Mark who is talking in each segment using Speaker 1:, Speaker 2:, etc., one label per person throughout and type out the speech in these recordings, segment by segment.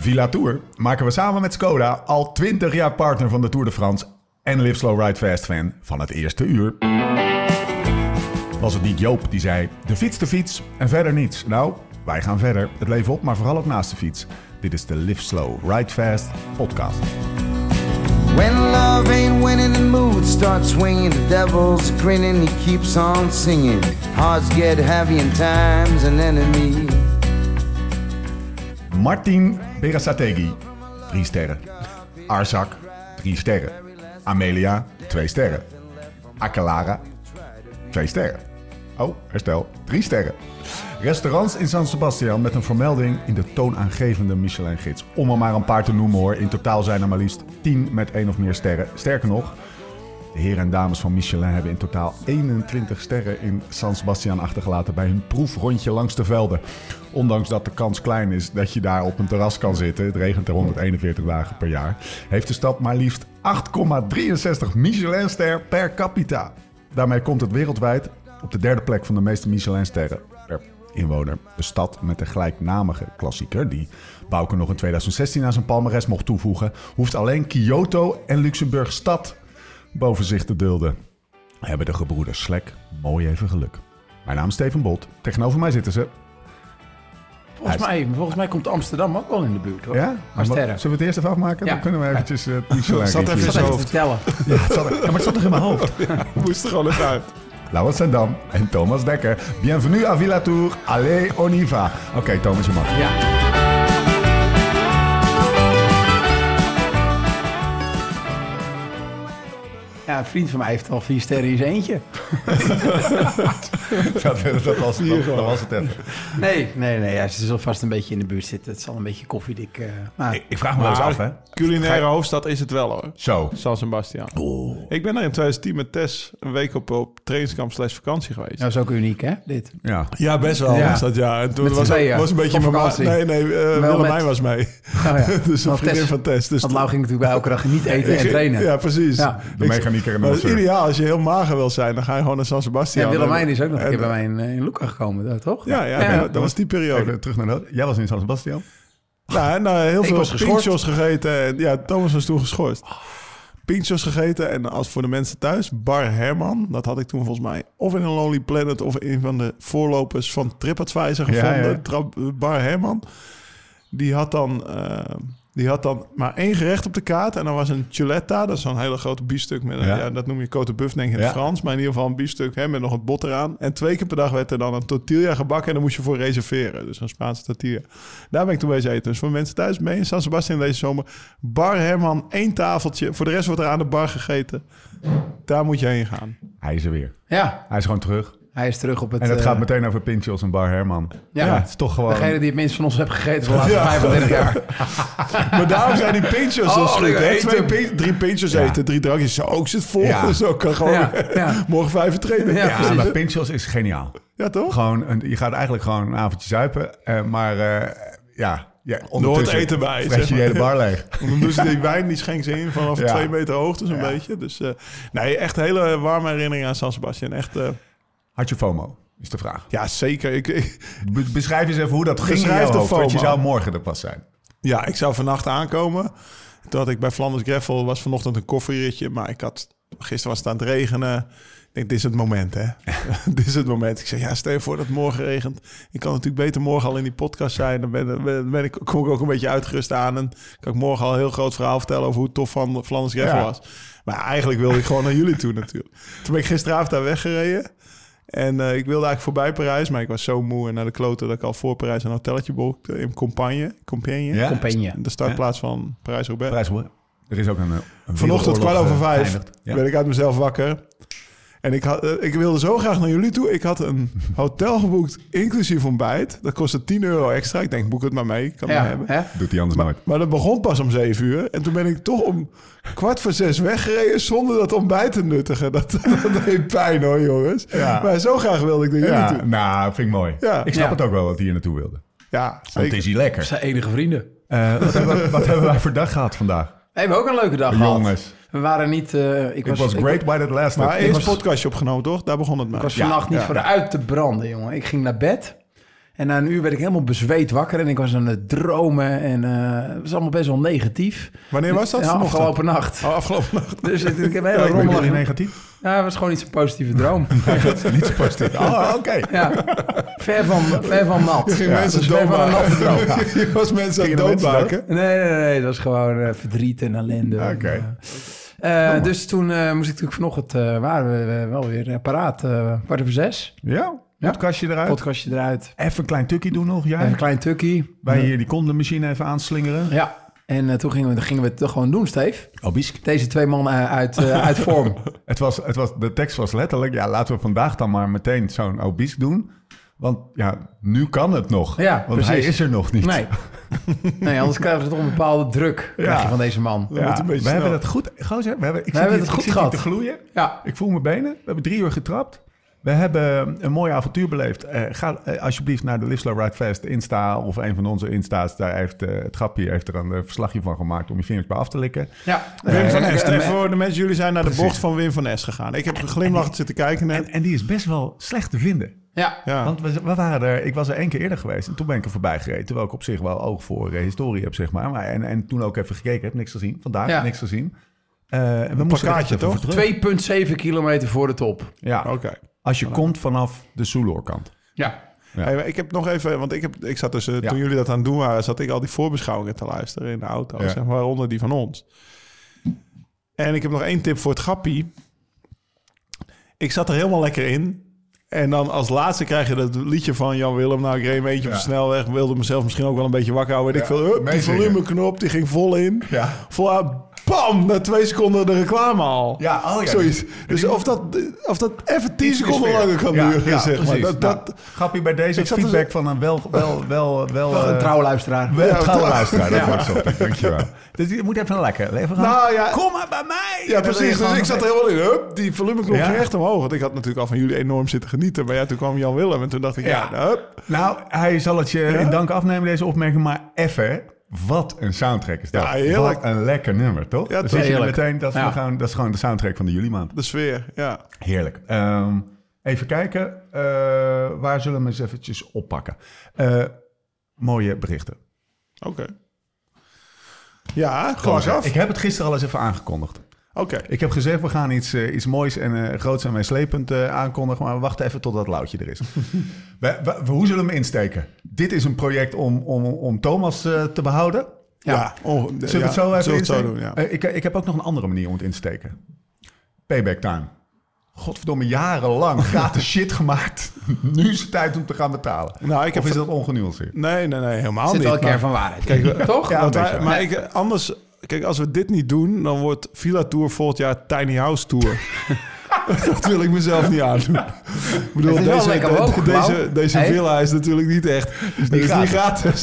Speaker 1: Villa Tour maken we samen met Skoda al 20 jaar partner van de Tour de France en Live Slow Ride Fast fan van het eerste uur. Was het niet Joop die zei: de fiets, de fiets en verder niets? Nou, wij gaan verder. Het leven op, maar vooral ook naast de fiets. Dit is de Live Slow Ride Fast podcast.
Speaker 2: When love ain't winning, the mood starts swinging. The devil's grinning, he keeps on singing. Hearts get heavy, and time's an enemy.
Speaker 1: Martin Berasategui, 3 sterren. Arzak, 3 sterren. Amelia, 2 sterren. Akelara, 2 sterren. Oh, herstel, 3 sterren. Restaurants in San Sebastian met een vermelding in de toonaangevende Michelin-gids. Om er maar een paar te noemen hoor. In totaal zijn er maar liefst 10 met 1 of meer sterren. Sterker nog, de heren en dames van Michelin hebben in totaal 21 sterren in San Sebastian achtergelaten bij hun proefrondje langs de velden. Ondanks dat de kans klein is dat je daar op een terras kan zitten, het regent er 141 dagen per jaar, heeft de stad maar liefst 8,63 Michelinster per capita. Daarmee komt het wereldwijd op de derde plek van de meeste Michelinsterren per inwoner. De stad met de gelijknamige klassieker, die Bouke nog in 2016 aan zijn palmares mocht toevoegen, hoeft alleen Kyoto en Luxemburg stad boven zich te dulden. Hebben de gebroeders Slek mooi even geluk. Mijn naam is Steven Bolt. Tegenover mij zitten ze.
Speaker 3: Volgens mij, volgens mij komt Amsterdam ook wel in de buurt hoor.
Speaker 1: Ja?
Speaker 3: Maar sterren.
Speaker 1: Zullen we het eerst even afmaken?
Speaker 3: Ja.
Speaker 1: Dan kunnen we eventjes eh, het Michelin
Speaker 4: Zat even
Speaker 1: review
Speaker 3: Dat
Speaker 4: zo.
Speaker 1: doen.
Speaker 3: even te vertellen.
Speaker 1: Ja, het zat er- ja, maar het zat toch in mijn hoofd?
Speaker 4: Moest er gewoon even uit.
Speaker 1: Laurens Sendam en Thomas Dekker. Bienvenue à Villa Tour. Allez, on y va. Oké, Thomas, je mag.
Speaker 3: Ja. Ja, een vriend van mij heeft al vier sterren in zijn eentje.
Speaker 1: Dat, dat was, dat, dat was het even.
Speaker 3: Nee, nee, nee. Ja, ze zal vast een beetje in de buurt zitten. Het zal een beetje koffiedik. eh, maar
Speaker 1: Ik, vraag me wel eens af, hè?
Speaker 4: culinaire hoofdstad is het wel hoor.
Speaker 1: Nou, Zo.
Speaker 4: San Sebastian. Ik ben daar in 2010 met Tess een week op, op trainingskamp slash vakantie
Speaker 3: dat
Speaker 4: geweest.
Speaker 3: nou, is ook uniek, hè? Dit.
Speaker 1: Ja.
Speaker 4: Ja, best wel.
Speaker 3: Ja.
Speaker 4: Was dat, ja. En toen
Speaker 3: Met z'n
Speaker 4: was,
Speaker 3: tweeën.
Speaker 4: was een beetje
Speaker 3: Op
Speaker 4: mijn ma-
Speaker 3: vakantie.
Speaker 4: Nee, nee, eh, Willemijn
Speaker 3: met-
Speaker 4: was mee.
Speaker 3: Oh, ja.
Speaker 4: dus een
Speaker 3: Want
Speaker 4: vriendin
Speaker 3: Tess-
Speaker 4: van Tess. Dus
Speaker 3: Want Lau ging natuurlijk bij elke dag niet eten en
Speaker 4: Ik-
Speaker 3: trainen.
Speaker 4: Ja, precies.
Speaker 3: Ja.
Speaker 1: De
Speaker 4: Ik-
Speaker 1: mechanieker en de
Speaker 4: maar het is
Speaker 1: masseur.
Speaker 4: ideaal als je heel mager wil zijn, dan ga je gewoon naar San Sebastian.
Speaker 3: Ja, Willemijn is ook nog een
Speaker 4: En-
Speaker 3: keer bij mij in, eh, in Luca gekomen, daar, toch?
Speaker 4: Ja, ja,
Speaker 3: Ja.
Speaker 4: dat was die periode.
Speaker 1: Even terug naar de... Jij was in San Sebastian?
Speaker 4: Nou, en, eh, heel
Speaker 3: Ik was
Speaker 4: veel
Speaker 3: geschorst.
Speaker 4: pinchos gegeten. En, ja, Thomas was toen geschorst. Pinchos gegeten en als voor de mensen thuis, Bar Herman. Dat had ik toen volgens mij of in een Lonely Planet of in een van de voorlopers van TripAdvisor
Speaker 1: Ja,
Speaker 4: gevonden.
Speaker 1: ja.
Speaker 4: Tra- Bar Herman. Die had, dan, eh, die had dan maar één gerecht op de kaart. En dan was een chuletta, dat is zo'n hele grote biefstuk. Met een-
Speaker 1: Ja.
Speaker 4: ja. dat noem je cote buff denk ik in
Speaker 1: Ja.
Speaker 4: het Frans. Maar in ieder geval een biefstuk hè, met nog het bot eraan. En twee keer per dag werd er dan een tortilla gebakken. En daar moest je voor reserveren. Dus een Spaanse tortilla. Daar ben ik toen bezig eten. Dus voor mensen thuis, mee in San Sebastian deze zomer. Bar Herman, één tafeltje. Voor de rest wordt er aan de bar gegeten. Daar moet je heen gaan.
Speaker 1: Hij is er weer.
Speaker 3: Ja,
Speaker 1: Hij is gewoon terug.
Speaker 3: hij is terug op het...
Speaker 1: En het
Speaker 3: eh,
Speaker 1: gaat meteen over Pinchos en Bar Herman.
Speaker 3: Ja.
Speaker 1: het is toch gewoon...
Speaker 3: Degene die het minst van ons heeft gegeten voor de laatste 35 jaar.
Speaker 4: Maar daarom zijn die pinchos
Speaker 3: Oh,
Speaker 4: dus goed.
Speaker 3: die
Speaker 4: hè?
Speaker 3: eten.
Speaker 4: Twee pin- drie pinchos
Speaker 1: Ja.
Speaker 4: eten, drie drankjes. Zo ook zit vol.
Speaker 1: Ja.
Speaker 4: Zo kan gewoon eh,
Speaker 3: Ja, ja.
Speaker 4: morgen vijf uur trainen.
Speaker 3: Ja.
Speaker 4: Ja,
Speaker 1: Ja,
Speaker 3: precies.
Speaker 1: maar Pinchos is geniaal.
Speaker 4: toch?
Speaker 1: Gewoon, een, je gaat eigenlijk gewoon een avondje zuipen. eh, maar eh, ja, ja, ondertussen
Speaker 4: eten bij,
Speaker 1: Vreet je
Speaker 4: zeg
Speaker 1: de
Speaker 4: maar.
Speaker 1: hele bar leeg.
Speaker 4: Want dus die wijn die schenkt ze in vanaf
Speaker 1: Ja.
Speaker 4: twee meter hoogte zo'n
Speaker 1: Ja.
Speaker 4: beetje. Dus eh, nee, echt een hele warme herinnering aan San Sebastian. Echt, eh,
Speaker 1: Had je FOMO, is de vraag.
Speaker 4: ja zeker. Ik, ik-
Speaker 1: Be- beschrijf eens even hoe dat ging in
Speaker 4: Beschrijf
Speaker 1: jouw
Speaker 4: de
Speaker 1: hoofd. Want je
Speaker 4: FOMO.
Speaker 1: zou morgen er pas zijn.
Speaker 4: ja, ik zou vannacht aankomen. Toen had ik bij Flanders Greffel, was vanochtend een koffieritje. Maar ik had, gisteren was het aan het regenen. Ik denk, dit is het moment hè. dit is het moment. Ik zeg, ja, stel je voor dat het morgen regent. Ik kan natuurlijk beter morgen al in die podcast zijn. Dan ben, ben, ben ik, kom ik ook een beetje uitgerust aan. En kan ik morgen al een heel groot verhaal vertellen over hoe tof van Flanders Greffel
Speaker 1: Ja.
Speaker 4: was. Maar eigenlijk wilde ik gewoon naar jullie toe natuurlijk. Toen ben ik gisteravond daar weggereden. En eh, ik wilde eigenlijk voorbij Parijs, maar ik was zo moe en naar de kloten dat ik al voor Parijs een hotelletje boekte in Compagne. Compagne.
Speaker 1: Ja?
Speaker 3: Compagnie.
Speaker 4: De startplaats van Parijs-Roubaix.
Speaker 1: Prijs, hoor. er is ook een, eh, een
Speaker 4: Vanochtend kwart over
Speaker 1: wereldoorlog, eh,
Speaker 4: vijf
Speaker 1: geëindigd. Ja.
Speaker 4: ben ik uit mezelf wakker. En ik, had, eh, ik wilde zo graag naar jullie toe. Ik had een hotel geboekt, inclusief ontbijt. Dat kostte 10 euro extra. Ik denk, boek het maar mee. Ik kan het
Speaker 3: Ja,
Speaker 4: maar hebben.
Speaker 3: hè?
Speaker 1: Doet hij anders
Speaker 4: Maar,
Speaker 1: nooit.
Speaker 4: maar dat begon pas om zeven uur. En toen ben ik toch om kwart voor zes weggereden zonder dat ontbijt te nuttigen. Dat, dat deed pijn hoor, jongens.
Speaker 1: Ja.
Speaker 4: Maar zo graag wilde ik naar jullie
Speaker 1: Ja,
Speaker 4: toe.
Speaker 1: nou, vind ik mooi.
Speaker 4: Ja.
Speaker 1: Ik snap
Speaker 3: Ja.
Speaker 1: het ook wel dat hij hier naartoe wilde.
Speaker 4: Ja,
Speaker 1: Want het
Speaker 4: zeker.
Speaker 1: is hier lekker.
Speaker 3: Zijn enige vrienden.
Speaker 1: Eh, wat, hebben, we- wat hebben wij voor dag gehad vandaag?
Speaker 3: We hebben ook een leuke dag gehad.
Speaker 1: Jongens,
Speaker 3: We waren niet... eh, ik,
Speaker 1: it
Speaker 3: was,
Speaker 1: was
Speaker 3: ik-
Speaker 1: great by that last
Speaker 4: Maar
Speaker 1: night.
Speaker 4: eerst een podcastje opgenomen, toch? Daar begon het mee.
Speaker 3: ik was
Speaker 1: Ja,
Speaker 3: vannacht niet
Speaker 4: ja.
Speaker 3: vooruit te branden, jongen. Ik ging naar bed. En na een uur werd ik helemaal bezweet wakker en ik was aan het dromen. En eh, het was allemaal best wel negatief.
Speaker 4: Wanneer was dat?
Speaker 3: Ja,
Speaker 4: Vanochtend?
Speaker 3: afgelopen nacht.
Speaker 4: Oh, afgelopen nacht.
Speaker 3: Dus ik, ik heb een hele
Speaker 1: Ik ben
Speaker 3: rommelige...
Speaker 1: negatief.
Speaker 3: Ja, het was gewoon niet zo'n positieve droom.
Speaker 1: Niet zo positief. Oh, oké.
Speaker 3: ja. Ver van, ver van nat.
Speaker 4: Je ging
Speaker 3: Ja,
Speaker 4: mensen
Speaker 3: het was ver van een natte
Speaker 4: doodmaken.
Speaker 3: droom.
Speaker 4: Je was mensen aan
Speaker 1: Gingen
Speaker 4: het
Speaker 1: de mensen
Speaker 4: doodmaken.
Speaker 3: Nee, nee, nee. Het was gewoon eh, verdriet en ellende.
Speaker 1: Oké.
Speaker 3: En, eh, eh, dus toen eh, moest ik natuurlijk vanochtend... eh, waren we eh, wel weer eh, paraat. eh kwart over zes.
Speaker 1: Ja, podcastje eruit.
Speaker 3: Podcastje eruit.
Speaker 1: Even een klein tukkie doen nog,
Speaker 3: Even
Speaker 1: jij.
Speaker 3: een klein tukkie.
Speaker 1: Wij hier die kondenmachine even aanslingeren.
Speaker 3: Ja. En eh, toen gingen we, gingen we het gewoon doen, Steve.
Speaker 1: Oh,
Speaker 3: Deze twee mannen eh, uit, eh, uit vorm.
Speaker 1: Het was, het was, de tekst was letterlijk, ja, laten we vandaag dan maar meteen zo'n obiesk doen. Want ja, nu kan het nog.
Speaker 3: Ja,
Speaker 1: want
Speaker 3: precies.
Speaker 1: hij is er nog niet.
Speaker 3: Nee. nee, anders krijgen ze toch een bepaalde druk krijg je van deze man.
Speaker 1: Ja,
Speaker 4: moet een
Speaker 1: we
Speaker 4: beetje
Speaker 1: hebben
Speaker 4: snel.
Speaker 1: dat goed, gozer, we hebben, ik
Speaker 3: We
Speaker 1: zit
Speaker 3: hebben
Speaker 1: hier-
Speaker 3: het
Speaker 1: ik
Speaker 3: goed
Speaker 1: zit hier
Speaker 3: gehad.
Speaker 1: te gloeien.
Speaker 3: Ja.
Speaker 1: Ik voel mijn benen. We hebben drie uur getrapt. We hebben een mooi avontuur beleefd. Eh, ga eh, alsjeblieft naar de Live Slow Ride Fest Insta of een van onze Insta's. Daar heeft eh, het grapje heeft er een eh, verslagje van gemaakt om je vingers bij af te likken.
Speaker 3: ja.
Speaker 4: Wim van
Speaker 3: Eh,
Speaker 4: Es,
Speaker 3: eh,
Speaker 4: Even voor de mensen, jullie zijn naar de
Speaker 1: Precies.
Speaker 4: bocht van Wim van Es gegaan. Ik heb geglimlacht zitten kijken
Speaker 1: En,
Speaker 4: net.
Speaker 1: en die is best wel slecht te vinden.
Speaker 3: Ja.
Speaker 4: Ja.
Speaker 1: Want we, we waren er, ik was er één keer eerder geweest en toen ben ik er voorbij gereden. Terwijl ik op zich wel oog voor eh, historie heb, zeg maar. maar en, en toen ook even gekeken, heb niks gezien. Vandaag
Speaker 3: Ja.
Speaker 1: niks gezien. Eh, en we moesten
Speaker 4: plakkaatje,
Speaker 1: er even
Speaker 4: toch? Oh.
Speaker 1: voor terug.
Speaker 3: 2,7 kilometer voor de top.
Speaker 1: Ja,
Speaker 4: Oké.
Speaker 1: als je komt vanaf de Soeloorkant.
Speaker 3: Ja.
Speaker 1: Ja.
Speaker 4: Hey, maar ik heb nog even, want ik, heb, ik zat dus, eh,
Speaker 1: Ja.
Speaker 4: toen jullie dat aan het doen waren, zat ik al die voorbeschouwingen te luisteren in de auto,
Speaker 1: Ja.
Speaker 4: zeg maar, waaronder die van ons. En ik heb nog één tip voor het grappie. Ik zat er helemaal lekker in. En dan als laatste krijg je dat liedje van Jan Willem. Nou, ik reed een beetje op
Speaker 1: Ja.
Speaker 4: de snelweg. Wilde mezelf misschien ook wel een beetje wakker houden. weet ik veel, hup, die
Speaker 1: meezingen.
Speaker 4: volumeknop, die ging vol in.
Speaker 1: Ja.
Speaker 4: Vol aan, bam, na twee seconden de reclame al.
Speaker 1: Ja, oh ja.
Speaker 4: Zoiets. Dus of dat, of dat even tien seconden langer kan
Speaker 1: Ja,
Speaker 4: duren,
Speaker 1: ja,
Speaker 4: zeg maar.
Speaker 1: precies.
Speaker 4: Dat, dat,
Speaker 1: Nou, grappie bij deze
Speaker 4: Ik zat
Speaker 1: feedback van een wel, wel, wel, wel, eh,
Speaker 3: Een trouwe luisteraar.
Speaker 1: wel
Speaker 4: Ja,
Speaker 1: trouwe
Speaker 4: trouw-
Speaker 1: luisteraar. Dat wordt zo. Dankjewel. Dus je moet even lekker. Even gaan.
Speaker 4: Nou ja.
Speaker 1: Kom maar bij mij.
Speaker 4: Ja,
Speaker 1: En dan ben je
Speaker 4: precies. Dus
Speaker 1: gewoon-
Speaker 4: ik zat er helemaal in. Hup, die volumeknop
Speaker 1: Ja.
Speaker 4: ging echt omhoog. Want ik had natuurlijk al van jullie enorm zitten genieten. Maar ja, toen kwam Jan Willem en toen dacht ik, ja,
Speaker 1: Ja.
Speaker 4: hup.
Speaker 1: Nou, hij zal het je in dank afnemen, deze opmerking. Maar even, wat een soundtrack is dat.
Speaker 4: Ja, heerlijk.
Speaker 1: Wat een lekker nummer, toch?
Speaker 4: Ja,
Speaker 1: Dan
Speaker 4: toch?
Speaker 1: zit je er
Speaker 3: Heerlijk.
Speaker 1: meteen, dat is,
Speaker 3: Ja.
Speaker 1: we gaan, dat is gewoon de soundtrack van de juli maand.
Speaker 4: De sfeer, ja.
Speaker 1: Heerlijk. Ehm, even kijken, eh, waar zullen we hem eens eventjes oppakken? Eh, mooie berichten.
Speaker 4: Oké. Ja, glas af.
Speaker 1: Ik heb het gisteren al eens even aangekondigd.
Speaker 4: Oké.
Speaker 1: Ik heb gezegd, we gaan iets, eh, iets moois en eh, groots en meeslepend eh, aankondigen. Maar we wachten even tot dat loutje er is. we, we- we- hoe zullen we hem insteken? Dit is een project om, om, om Thomas eh, te behouden.
Speaker 4: Ja. onge-
Speaker 1: Zullen we het zo
Speaker 4: ja,
Speaker 1: even
Speaker 4: zullen we het
Speaker 1: insteken?
Speaker 4: zo doen, ja.
Speaker 1: Eh, ik, ik heb ook nog een andere manier om het in te steken. Payback time. Godverdomme, jarenlang gratis shit gemaakt. nu is het tijd om te gaan betalen.
Speaker 4: Nou, ik heb
Speaker 1: of is dat ongenuanceerd?
Speaker 4: Nee, nee, nee, helemaal
Speaker 3: Er zit
Speaker 4: niet.
Speaker 3: wel een kern
Speaker 4: maar-
Speaker 3: van waarheid. in. Toch?
Speaker 1: Ja,
Speaker 4: Want
Speaker 1: een
Speaker 4: wij-
Speaker 1: beetje,
Speaker 4: Ah, maar ik, anders, kijk, als we dit niet doen, dan wordt Villa Tour volgend jaar Tiny House Tour. dat wil ik mezelf niet aandoen. Ik bedoel,
Speaker 3: Het is wel
Speaker 4: deze,
Speaker 3: lekker
Speaker 4: de-
Speaker 3: hoog,
Speaker 4: deze,
Speaker 3: Blauw.
Speaker 4: deze
Speaker 3: Hey.
Speaker 4: villa is natuurlijk niet echt. Is niet
Speaker 1: gratis.
Speaker 4: gratis.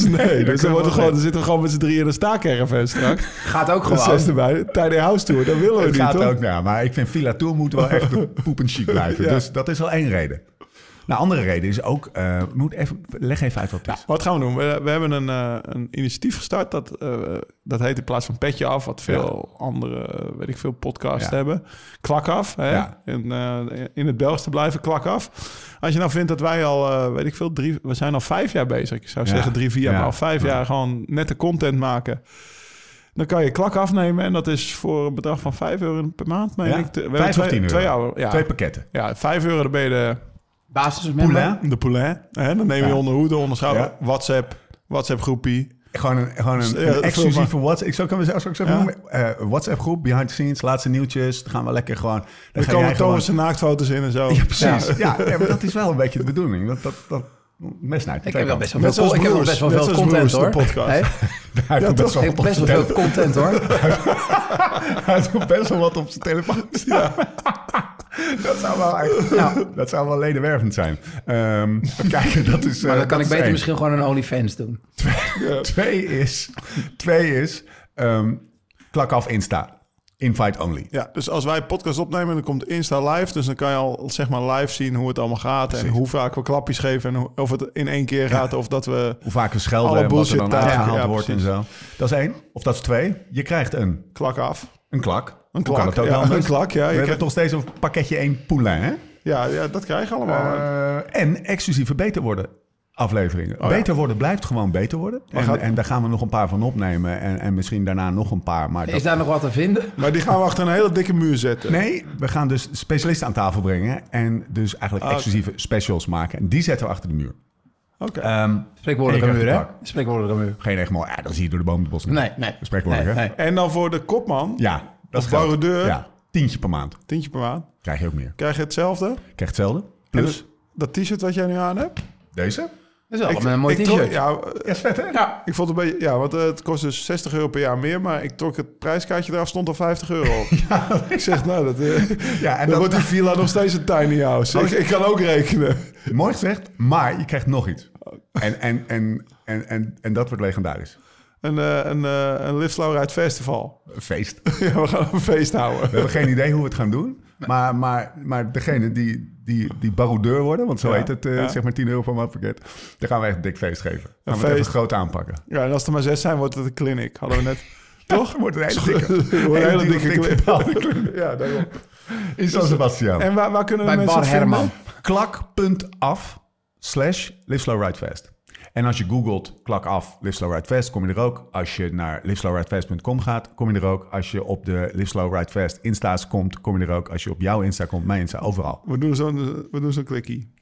Speaker 4: Nee,
Speaker 1: daar
Speaker 4: dus dan,
Speaker 1: kunnen
Speaker 4: wordt
Speaker 1: we
Speaker 4: er gewoon,
Speaker 1: wel
Speaker 4: dan zitten we gewoon met z'n drieën in een staakerven straks.
Speaker 3: Gaat ook
Speaker 4: Dat
Speaker 3: gewoon.
Speaker 4: zes erbij. Tiny House Tour, dat willen we
Speaker 1: Het
Speaker 4: niet,
Speaker 1: gaat
Speaker 4: Oh, toch?
Speaker 1: ook naar, maar ik vind Villa Tour moet wel echt de poep en chic blijven.
Speaker 4: Ja.
Speaker 1: Dus dat is al één reden. Nou, andere reden is ook, eh, moet even, leg even uit wat het is.
Speaker 4: Wat gaan we doen? We, we hebben een, eh, een initiatief gestart. Dat, eh, dat heet in plaats van Petje Af, wat veel andere, eh, weet ik veel, podcasts
Speaker 1: Ja.
Speaker 4: hebben. Klak af. Hè?
Speaker 1: Ja.
Speaker 4: In, eh, in het Belgisch te blijven, klak af. Als je nou vindt dat wij al, eh, weet ik veel, drie, we zijn al vijf jaar bezig. Ik zou
Speaker 1: Ja.
Speaker 4: zeggen drie, vier jaar,
Speaker 1: Ja.
Speaker 4: maar al vijf
Speaker 1: Ja.
Speaker 4: jaar gewoon nette content maken. Dan kan je klak afnemen en dat is voor een bedrag van 5 euro per maand. meen
Speaker 1: Ja?
Speaker 4: ik. Te- we hebben
Speaker 1: Vijf of
Speaker 4: twee-
Speaker 1: tien euro?
Speaker 4: Twee, euro, ja.
Speaker 1: Twee pakketten.
Speaker 4: ja, 5 euro, dan ben je de
Speaker 3: Basis
Speaker 1: Poulain.
Speaker 4: eh, de poulain. Hè? Dan neem je
Speaker 1: Ja.
Speaker 4: onder hoede, onder schouder.
Speaker 1: Ja.
Speaker 4: WhatsApp, WhatsApp groepie.
Speaker 1: Gewoon een, gewoon een,
Speaker 4: Ja,
Speaker 1: een
Speaker 4: dat vult
Speaker 1: exclusieve WhatsApp. Ik zou kunnen zeggen, zou ik zo even
Speaker 4: Ja.
Speaker 1: noemen. Eh, WhatsApp groep, behind the scenes, laatste nieuwtjes. Dan gaan we lekker gewoon. Dan
Speaker 4: Dan
Speaker 1: ga
Speaker 4: komen
Speaker 1: jij gewoon-
Speaker 4: Thomas zijn naaktfoto's in en zo.
Speaker 1: Ja, precies. Ja. ja, maar dat is wel een beetje de bedoening. Dat, dat, dat mes naar.
Speaker 3: Ik heb wel best wel
Speaker 4: Net
Speaker 3: veel,
Speaker 4: zoals
Speaker 3: ik heb wel
Speaker 4: Broers.
Speaker 3: best wel
Speaker 4: Net
Speaker 3: veel
Speaker 4: zoals
Speaker 3: content
Speaker 4: Broers, de
Speaker 3: hoor.
Speaker 4: podcast.
Speaker 3: Hey,
Speaker 1: Hij heeft best
Speaker 3: ik
Speaker 1: wel
Speaker 3: heb
Speaker 1: op
Speaker 3: best wel
Speaker 1: zijn
Speaker 3: veel content hoor.
Speaker 1: tele- hij heeft best wel wat op zijn telefoon. Ja. Dat zou wel eigenlijk-
Speaker 3: Ja.
Speaker 1: Dat zou wel ledenwervend zijn. Ehm even kijken, dat is. eh,
Speaker 3: Maar dan
Speaker 1: dat
Speaker 3: kan
Speaker 1: is
Speaker 3: ik beter
Speaker 1: één.
Speaker 3: misschien gewoon een OnlyFans doen.
Speaker 1: Twee is. Twee is. ehm, klak af Insta. Invite only.
Speaker 4: Ja, dus als wij een podcast opnemen, dan komt Insta live. Dus dan kan je al zeg maar live zien hoe het allemaal gaat. En hoe vaak we klapjes geven. En hoe- of het in één keer gaat. Of dat we
Speaker 1: Hoe vaak we schelden
Speaker 4: Alle
Speaker 1: en wat er dan
Speaker 4: bullshit daar.
Speaker 1: uitgehaald
Speaker 4: Ja,
Speaker 1: wordt en zo. Dat is één. Of dat is twee. Je krijgt een,
Speaker 4: klak af.
Speaker 1: een klak.
Speaker 4: Een
Speaker 1: Hoe kan
Speaker 4: klak.
Speaker 1: het ook
Speaker 4: ja,
Speaker 1: anders?
Speaker 4: een klak, ja.
Speaker 1: We
Speaker 4: Je
Speaker 1: hebben
Speaker 4: krijgt-
Speaker 1: toch steeds een pakketje één poulain, hè?
Speaker 4: ja, ja, dat krijg je allemaal.
Speaker 1: Eh, en exclusief beter worden. afleveringen. beter worden blijft gewoon beter worden. En,
Speaker 4: Oh, gaat-
Speaker 1: en daar gaan we nog een paar van opnemen. En, en misschien daarna nog een paar. Maar dat-
Speaker 3: Is daar nog wat te vinden?
Speaker 4: Maar die gaan we achter een hele dikke muur zetten.
Speaker 1: Nee, we gaan dus specialisten aan tafel brengen. En dus eigenlijk
Speaker 4: Ah, oké.
Speaker 1: exclusieve specials maken. En die zetten we achter de muur.
Speaker 4: Oké.
Speaker 1: Ehm,
Speaker 3: Spreekwoordelijke
Speaker 1: En je
Speaker 3: muur,
Speaker 1: krijgt
Speaker 3: hè?
Speaker 1: het
Speaker 3: Spreekwoordelijke muur.
Speaker 1: geen echt mooi. Ja, dan zie je door de boom de bos. niet.
Speaker 3: Nee, nee.
Speaker 1: Spreekwoordelijk,
Speaker 3: Nee,
Speaker 1: hè?
Speaker 3: nee.
Speaker 4: En dan voor de kopman,
Speaker 1: Ja, dat is
Speaker 4: Of
Speaker 1: geld.
Speaker 4: barodeur.
Speaker 1: Ja, tientje per maand.
Speaker 4: tientje per maand,
Speaker 1: Krijg je ook meer.
Speaker 4: krijg je hetzelfde.
Speaker 1: Krijg hetzelfde. Plus
Speaker 4: En dat t-shirt wat jij nu aan hebt.
Speaker 1: deze.
Speaker 3: Dat is wel een mooi
Speaker 4: ik
Speaker 3: t-shirt.
Speaker 4: trok- ja, eh,
Speaker 1: Ja, is vet, hè?
Speaker 3: Ja.
Speaker 4: ik vond het een beetje, ja, want eh, het kost dus 60 euro per jaar meer, maar ik trok het prijskaartje eraf, stond al 50 euro op. Ik zeg, nou, dat, eh,
Speaker 1: Ja, en
Speaker 4: dan
Speaker 1: dat
Speaker 4: wordt die villa nog steeds een tiny house. Ik, ik kan ook rekenen.
Speaker 1: mooi gezegd, maar je krijgt nog iets. En, en, en, en, en, en dat wordt legendarisch.
Speaker 4: Een, eh een, eh, een Liftslauer uit Festival.
Speaker 1: Een Feest.
Speaker 4: ja, we gaan een feest houden.
Speaker 1: We hebben geen idee hoe we het gaan doen. Maar, maar, maar degene die, die, die baroudeur worden, want zo
Speaker 4: Ja,
Speaker 1: heet het, eh,
Speaker 4: ja.
Speaker 1: zeg maar 10 euro per maandpakket. Daar gaan we echt een dik feest geven. Gaan we het
Speaker 4: feest.
Speaker 1: even groot aanpakken.
Speaker 4: Ja, en als er maar zes zijn, wordt het een clinic. Hadden we net. Toch?
Speaker 1: Dan wordt het een hele dikke,
Speaker 4: Een
Speaker 1: hele
Speaker 4: hele
Speaker 1: dikke,
Speaker 4: dikke
Speaker 1: dikke
Speaker 4: clinic.
Speaker 1: betaalde clinic.
Speaker 4: Ja, daarom.
Speaker 1: in San Sebastian.
Speaker 4: En waar, waar kunnen de
Speaker 3: Bij
Speaker 4: mensen
Speaker 3: Bar
Speaker 4: het vinden?
Speaker 3: Herman.
Speaker 1: klak.af slash Live Slow Ride Fast. En als je googelt klak af Live Slow Ride Fast, kom je er ook. Als je naar liveslowridefast.com gaat, kom je er ook. Als je op de Live Slow Ride Fast Insta's komt, kom je er ook. Als je op jouw Insta komt, mijn Insta, overal.
Speaker 4: We doen zo'n eh, we doen zo'n klikkie.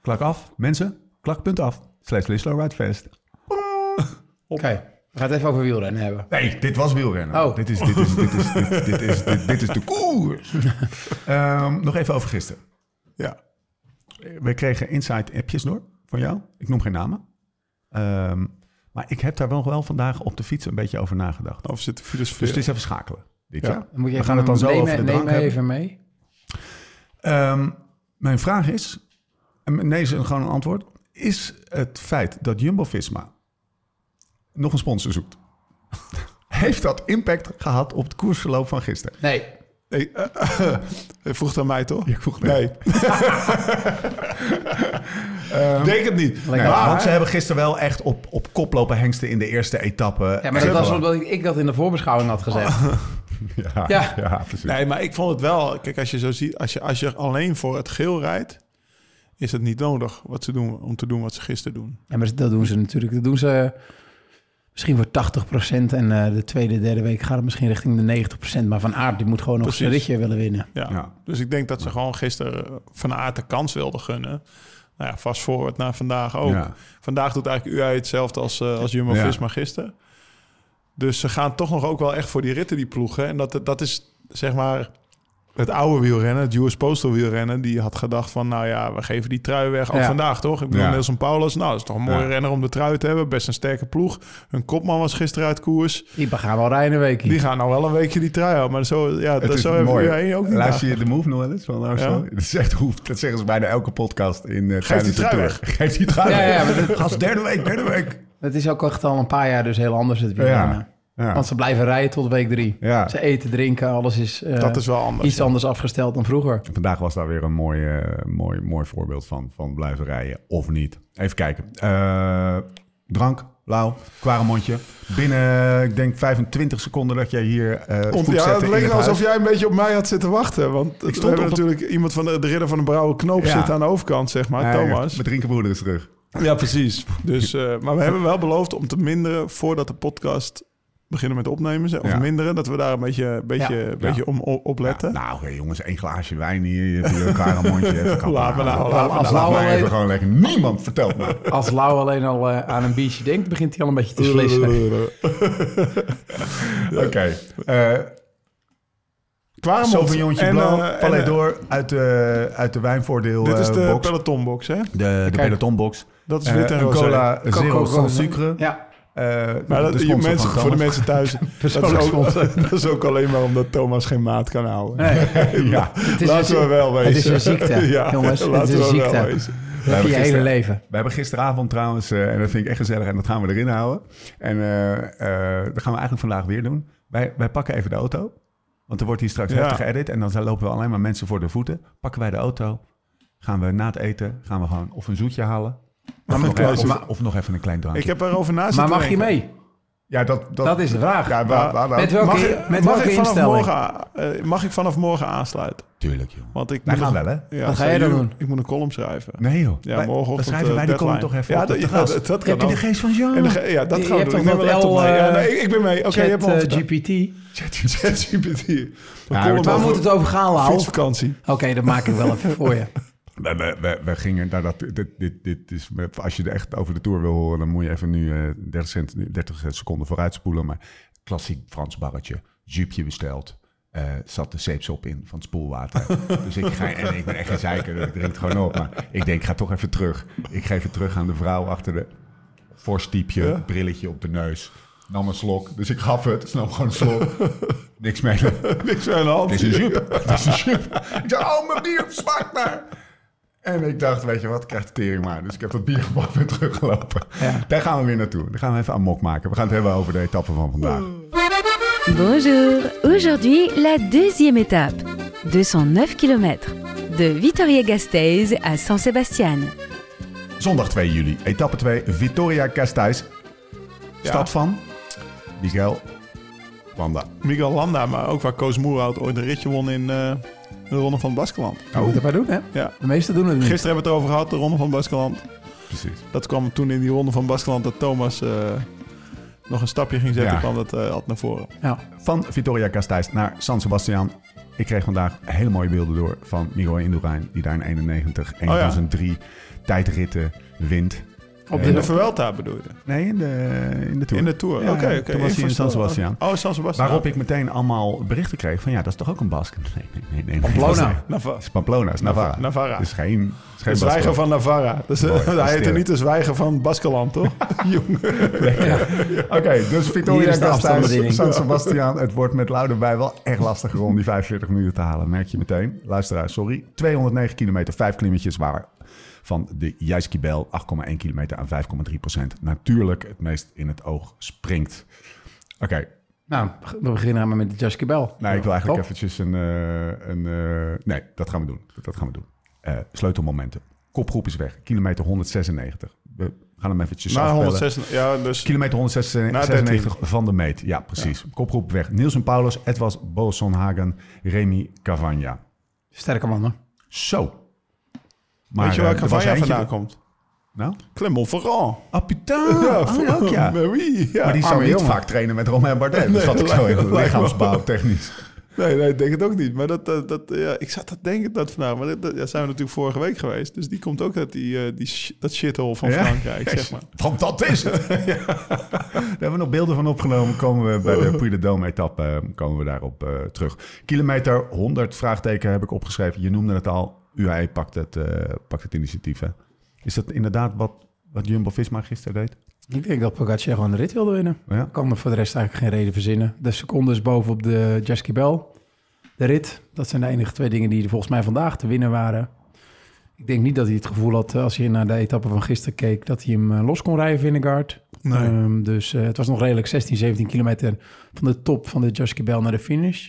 Speaker 1: Klak af, mensen. Klak.af slash Live Slow Ride Fast.
Speaker 3: Oké, we gaan het even over wielrennen hebben.
Speaker 1: Nee, dit was wielrennen.
Speaker 3: Oh.
Speaker 1: Dit, is, dit, is, dit, is, dit, dit is, dit, dit is de koers. Ehm, nog even over gisteren.
Speaker 4: Ja.
Speaker 1: We kregen inside-appjes door van jou. Ik noem geen namen. Ehm, maar ik heb daar wel, wel vandaag op de fiets een beetje over nagedacht.
Speaker 4: Of zit de filosofie.
Speaker 1: Dus het is even schakelen. Dit,
Speaker 4: Ja.
Speaker 1: ja.
Speaker 3: Dan moet je
Speaker 1: We
Speaker 3: even-
Speaker 1: gaan het dan zo
Speaker 3: neem,
Speaker 1: over de
Speaker 3: Neem
Speaker 1: drank
Speaker 3: mij
Speaker 1: hebben.
Speaker 3: even mee.
Speaker 1: Ehm, mijn vraag is, en nee, is een- gewoon een antwoord. Is het feit dat Jumbo-Visma nog een sponsor zoekt... heeft dat impact gehad op het koersverloop van gisteren?
Speaker 3: Nee,
Speaker 4: Hey, eh, je vroeg het aan mij toch?
Speaker 1: Ik vroeg
Speaker 4: nee. Ik Denk het niet.
Speaker 3: Lekker.
Speaker 1: Nee,
Speaker 3: Maar-
Speaker 1: want ze hebben gisteren wel echt op, op kop lopen hengsten in de eerste etappe.
Speaker 3: ja, maar dat was omdat ik, ik dat in de voorbeschouwing had
Speaker 1: Oh.
Speaker 3: gezegd.
Speaker 1: Ja, ja.
Speaker 3: Ja.
Speaker 1: precies.
Speaker 4: Nee, maar ik vond het wel. Kijk, als je zo ziet, als je, als je alleen voor het geel rijdt, is het niet nodig wat ze doen, om te doen wat ze gisteren doen.
Speaker 3: Ja, maar dat doen ze natuurlijk. Dat doen ze misschien voor 80% en eh, de tweede, derde week gaat het misschien richting de 90%. Maar Van Aert die moet gewoon nog
Speaker 4: Precies.
Speaker 3: een ritje willen winnen.
Speaker 4: Ja.
Speaker 1: Ja.
Speaker 4: Dus ik denk dat ze gewoon gisteren van aard de kans wilden gunnen. Nou ja, vast vooruit naar vandaag ook.
Speaker 1: Ja.
Speaker 4: Vandaag doet eigenlijk UAE hetzelfde als, eh, als Jumbo
Speaker 1: Ja.
Speaker 4: Visma gisteren. Dus ze gaan toch nog ook wel echt voor die ritten, die ploegen. En dat, dat is zeg maar het oude wielrennen, het US Postal wielrennen. Die had gedacht van, nou ja, we geven die trui weg. Ook
Speaker 3: Ja.
Speaker 4: vandaag toch? Ik bedoel,
Speaker 1: Ja.
Speaker 4: Nelson Paulus, nou, dat is toch een mooie
Speaker 1: Ja.
Speaker 4: renner om de trui te hebben. Best een sterke ploeg. Hun kopman was gisteren uit koers.
Speaker 3: Die gaan wel rijden een weekje.
Speaker 4: Die gaan nou wel een weekje die trui houden. Maar zo, ja, dat, zo hebben UAE ook niet
Speaker 1: Luister je de move nog wel eens van Arsenal?
Speaker 4: Ja.
Speaker 1: Dat, is echt hoe, dat zeggen ze bijna elke podcast in eh, tijdens
Speaker 4: die
Speaker 1: de
Speaker 4: trui
Speaker 1: tour.
Speaker 4: weg.
Speaker 1: Geef die trui
Speaker 3: Ja,
Speaker 1: weg.
Speaker 3: ja, maar dat-
Speaker 1: Gast, derde week, derde week.
Speaker 3: Het is ook echt al een paar jaar dus heel anders het wielrennen.
Speaker 1: Ja. ja.
Speaker 3: Want ze blijven rijden tot week drie.
Speaker 1: Ja.
Speaker 3: Ze eten, drinken, alles is, eh,
Speaker 4: Dat is wel anders.
Speaker 3: iets anders afgesteld dan vroeger.
Speaker 1: Vandaag was daar weer een mooi, eh, mooi, mooi voorbeeld van, van blijven rijden of niet. Even kijken. Eh, drank, lauw, kwaremondje. Binnen, eh, ik denk, 25 seconden dat jij hier eh
Speaker 4: Ont-
Speaker 1: voet
Speaker 4: ja,
Speaker 1: zette
Speaker 4: het
Speaker 1: in
Speaker 4: leek
Speaker 1: het
Speaker 4: alsof
Speaker 1: huis.
Speaker 4: jij een beetje op mij had zitten wachten. Want ik
Speaker 1: stond
Speaker 4: stond
Speaker 1: op-
Speaker 4: natuurlijk iemand van de, de ridder van de Brouwer Knoop
Speaker 1: Ja.
Speaker 4: zit aan de overkant, zeg maar,
Speaker 1: Nee,
Speaker 4: Ah, Thomas.
Speaker 1: Mijn drinkenbroeder is terug.
Speaker 4: Ja, precies. Dus, eh, maar we hebben wel beloofd om te minderen voordat de podcast beginnen met opnemen. zeg, Of
Speaker 1: Ja.
Speaker 4: minderen, dat we daar een beetje, een beetje, een beetje om o- op letten.
Speaker 1: Ja, nou, hé, jongens, één glaasje wijn hier. Je hebt hier een kwaremondje. Even kappen.
Speaker 4: Laat me nou, laat
Speaker 1: Laat
Speaker 4: me
Speaker 1: me
Speaker 3: nou.
Speaker 1: nou maar even
Speaker 3: Alleen-
Speaker 1: gewoon lekker. Niemand vertelt me.
Speaker 3: Als Lau alleen al eh, aan een biertje denkt, begint hij al een beetje te slissen.
Speaker 1: Oké. eh,
Speaker 4: Kwaremond
Speaker 1: Sauvignonje
Speaker 4: en,
Speaker 1: Blanc,
Speaker 4: eh, en,
Speaker 1: Palais
Speaker 4: eh,
Speaker 1: d'Or uit de, uit de wijnvoordeel
Speaker 4: Dit is
Speaker 1: eh,
Speaker 4: de
Speaker 1: box.
Speaker 4: pelotonbox, hè?
Speaker 1: de, de
Speaker 3: Kijk.
Speaker 1: pelotonbox.
Speaker 4: Dat is
Speaker 1: Eh,
Speaker 4: wit en
Speaker 1: een
Speaker 4: roze.
Speaker 1: cola zero sans sucre.
Speaker 3: Ja,
Speaker 1: Eh,
Speaker 4: Maar dat,
Speaker 1: de
Speaker 4: je
Speaker 1: sponsor van
Speaker 4: mensen, voor de
Speaker 1: Thomas.
Speaker 4: mensen thuis, dat is,
Speaker 3: Persoonlijk
Speaker 4: ook, dat is ook alleen maar omdat Thomas geen maat kan houden.
Speaker 1: Ja,
Speaker 3: het is dus
Speaker 4: laten
Speaker 3: een,
Speaker 4: we wel wezen.
Speaker 3: Het is een ziekte,
Speaker 4: Ja,
Speaker 3: jongens.
Speaker 4: laten
Speaker 3: Het is een
Speaker 4: we wel
Speaker 3: ziekte.
Speaker 4: wezen.
Speaker 1: We hebben
Speaker 3: Je hele
Speaker 1: gisteren-
Speaker 3: leven.
Speaker 1: We hebben gisteravond trouwens, eh, en dat vind ik echt gezellig en dat gaan we erin houden. En eh, eh, dat gaan we eigenlijk vandaag weer doen. Wij, wij pakken even de auto, want er wordt hier straks
Speaker 4: Ja.
Speaker 1: heftig geëdit. En dan zijn- lopen we alleen maar mensen voor de voeten. Pakken wij de auto, gaan we na het eten, gaan we gewoon of een zoetje halen. Of, nog,
Speaker 4: klaasje.
Speaker 1: of, of nog even een klein drankje.
Speaker 4: Ik heb erover na zitten
Speaker 3: Maar mag je
Speaker 4: denken.
Speaker 3: mee?
Speaker 1: Ja, dat, dat,
Speaker 3: Dat is de vraag.
Speaker 1: Ja, wa- wa-
Speaker 3: Met welke-
Speaker 4: mag ik,
Speaker 3: met
Speaker 4: mag
Speaker 3: welke
Speaker 4: ik vanaf
Speaker 3: instelling?
Speaker 4: Morgen, a- eh, mag ik vanaf morgen aansluiten?
Speaker 1: Tuurlijk, jongen.
Speaker 4: Want ik
Speaker 1: Wij
Speaker 4: moet
Speaker 1: gaan
Speaker 4: nog-
Speaker 1: wel, hè?
Speaker 4: Ja,
Speaker 3: Wat ga
Speaker 4: zo,
Speaker 3: jij dan
Speaker 4: jullie-
Speaker 3: doen?
Speaker 4: Ik moet een column schrijven.
Speaker 1: Nee, joh.
Speaker 4: Ja,
Speaker 1: Wij-
Speaker 4: morgenochtend,
Speaker 1: Dan schrijven
Speaker 4: eh,
Speaker 1: wij die column
Speaker 4: deadline.
Speaker 1: toch even
Speaker 4: Ja,
Speaker 1: op,
Speaker 4: dat-
Speaker 1: op
Speaker 4: ja,
Speaker 1: de gast.
Speaker 4: dat- dat
Speaker 1: Heb
Speaker 4: kan
Speaker 1: je
Speaker 4: ook.
Speaker 1: de geest van Jean?
Speaker 4: En dan ga- ja, dat
Speaker 3: Je
Speaker 4: gaan we
Speaker 3: hebt
Speaker 4: doen. Ik
Speaker 3: toch
Speaker 4: neem wel
Speaker 3: dat
Speaker 4: laptop
Speaker 3: L,
Speaker 4: mee. Ja,
Speaker 3: eh,
Speaker 4: nee, ik, ik ben mee. Oké, je hebt
Speaker 3: Chat
Speaker 4: me
Speaker 3: eh,
Speaker 4: overtuigd.
Speaker 3: GPT.
Speaker 4: ChatGPT.
Speaker 1: maar
Speaker 4: Column
Speaker 1: het
Speaker 3: Waar
Speaker 1: Over-
Speaker 3: moet het over gaan, Lau? Oké,
Speaker 4: Fietsvakantie.
Speaker 3: dat maak ik wel even voor je.
Speaker 1: We, we, we, we gingen naar dat. Dit, dit, dit is, als je er echt over de tour wil horen, dan moet je even nu eh, 30, cent, 30 seconden vooruit spoelen. Maar klassiek Frans barretje, jupje besteld. eh, zat de zeepsop in van het spoelwater. dus ik ga, en ik ben echt geen zeiker, dus ik drink het gewoon op. Maar ik denk, ik ga toch even terug. Ik geef het terug aan de vrouw achter de vorstiepje,
Speaker 4: Ja.
Speaker 1: brilletje op de neus. Nam een slok, dus ik gaf het. Snap gewoon een slok. Niks mee.
Speaker 4: Niks aan de hand.
Speaker 1: Het is een jup. Het is een jup. Ik zei, oh, mijn bier smaakt maar. En ik dacht, weet je wat, ik krijg de tering maar. Dus ik heb dat bier gepakt en teruggelopen. Daar gaan we weer naartoe. Daar gaan we even aan mok maken. We gaan het hebben over de etappe van vandaag.
Speaker 5: Bonjour, aujourd'hui la deuxième étape, 209 km, de Vitoria-Gasteiz à San Sebastian.
Speaker 1: Zondag 2 juli, etappe 2, Vittoria Castijs. Stad van Miguel Wanda.
Speaker 4: Miguel Landa, maar ook waar Koos Moerhout ooit een ritje won in eh, de Ronde van het Baskeland.
Speaker 3: Je Nou, moet het maar doen, hè?
Speaker 4: Ja.
Speaker 3: De meesten doen het niet.
Speaker 4: Gisteren hebben we het over gehad, de Ronde van het Baskeland.
Speaker 1: Precies.
Speaker 4: Dat kwam toen in die Ronde van Baskeland dat Thomas eh, nog een stapje ging zetten,
Speaker 1: Ja.
Speaker 4: kwam dat eh, altijd naar voren.
Speaker 3: Ja.
Speaker 1: Van Vittoria Castijs naar San Sebastian. Ik kreeg vandaag hele mooie beelden door van Miguel Indurain. Die daar in 91, een
Speaker 4: Oh ja.
Speaker 1: van zijn drie tijdritten wint.
Speaker 3: Op
Speaker 4: In de
Speaker 3: de,
Speaker 4: Vuelta bedoel je?
Speaker 1: Nee, in de, in de Tour.
Speaker 4: In de Tour. Oké,
Speaker 1: Ja,
Speaker 4: oké.
Speaker 1: Toen was hij in San Sebastian.
Speaker 4: Oh, San Sebastian.
Speaker 1: Waarop ik meteen allemaal berichten kreeg van ja, dat is toch ook een Basken? Nee, nee, nee. nee, nee.
Speaker 3: Pamplona.
Speaker 1: Dat is-
Speaker 4: Nava-
Speaker 1: Dat is Pamplona, is Navarra.
Speaker 4: Navarra.
Speaker 1: Dat is geen, dat is geen
Speaker 4: De zwijger
Speaker 1: Basken.
Speaker 4: van Navarra. Dus, eh,
Speaker 1: Mooi, dat is
Speaker 4: hij heette
Speaker 1: sterk.
Speaker 4: niet de zwijger van Baskeland, toch? Jongen.
Speaker 1: Oké, dus
Speaker 3: Hier
Speaker 1: Victoria
Speaker 3: is de afstandsbediening.
Speaker 1: Gasthuis, San Sebastian. Het wordt met Loudenbij wel echt lastig om die 45 minuten te halen, merk je meteen. Luisteraar, sorry. 209 kilometer, 5 klimmetjes waren van de Jijskibel. 8,1 kilometer aan 5,3 procent. Natuurlijk het meest in het oog springt. Oké,
Speaker 3: nou, we beginnen maar met de Jasky Bell.
Speaker 1: Nee, ik wil eigenlijk
Speaker 4: Oh.
Speaker 3: Top.
Speaker 1: eventjes een... eh, een eh, nee, dat gaan we doen. Dat gaan we doen. Eh, sleutelmomenten. Kopgroep is weg. Kilometer 196. We gaan hem eventjes
Speaker 4: Na
Speaker 1: afbellen.
Speaker 4: 106. Ja, dus
Speaker 1: Kilometer
Speaker 4: Na
Speaker 1: 196 van de meet. Ja, precies. Kopgroep weg. Nielsen Paulus, Edwas Bolsonhagen, Remy Cavagna.
Speaker 3: Sterke mannen.
Speaker 1: Zo. Maar,
Speaker 4: weet je waar
Speaker 1: eh, er was
Speaker 4: Cavagna
Speaker 1: eentje-
Speaker 4: vandaan komt?
Speaker 1: Nou?
Speaker 4: Clement Ferrand.
Speaker 1: Ah, putain. Oh, ook, ja.
Speaker 4: Maar wie? Ja,
Speaker 1: Maar die zou
Speaker 4: arme
Speaker 1: niet
Speaker 4: jongen.
Speaker 1: vaak trainen met Romain Bardet. Dus dat had ik zo
Speaker 4: lijkt-
Speaker 1: in
Speaker 4: lijkt me
Speaker 1: lichaamsbouw
Speaker 4: wel.
Speaker 1: technisch.
Speaker 4: Nee, nee, ik denk het ook niet. Maar dat, dat, dat, ja, ik zat te denken dat vandaag. Maar dat, dat ja, zijn we natuurlijk vorige week geweest. Dus die komt ook uit die, eh, die sh- dat shithole van
Speaker 1: Ja?
Speaker 4: Frankrijk, zeg maar.
Speaker 1: Want dat is het. Daar hebben we nog beelden van opgenomen. Komen we bij de Puy de Dome etappe eh, komen we daarop eh, terug. Kilometer 100 vraagteken heb ik opgeschreven. Je noemde het al. UAE pakt het, eh, pakt het initiatief. Hè? Is dat inderdaad wat, wat Jumbo-Visma gisteren deed?
Speaker 3: Ik denk dat Pogacar gewoon de rit wilde winnen.
Speaker 1: Ja.
Speaker 3: Ik kan me voor de rest eigenlijk geen reden verzinnen. De seconde is bovenop de Jasky Bell. De rit, dat zijn de enige twee dingen die er volgens mij vandaag te winnen waren. Ik denk niet dat hij het gevoel had, eh, als je naar de etappe van gisteren keek, dat hij hem eh, los kon rijden, Vinnegaard.
Speaker 4: Nee.
Speaker 3: Ehm, dus eh, het was nog redelijk 16, 17 kilometer van de top van de Jasky Bell naar de finish.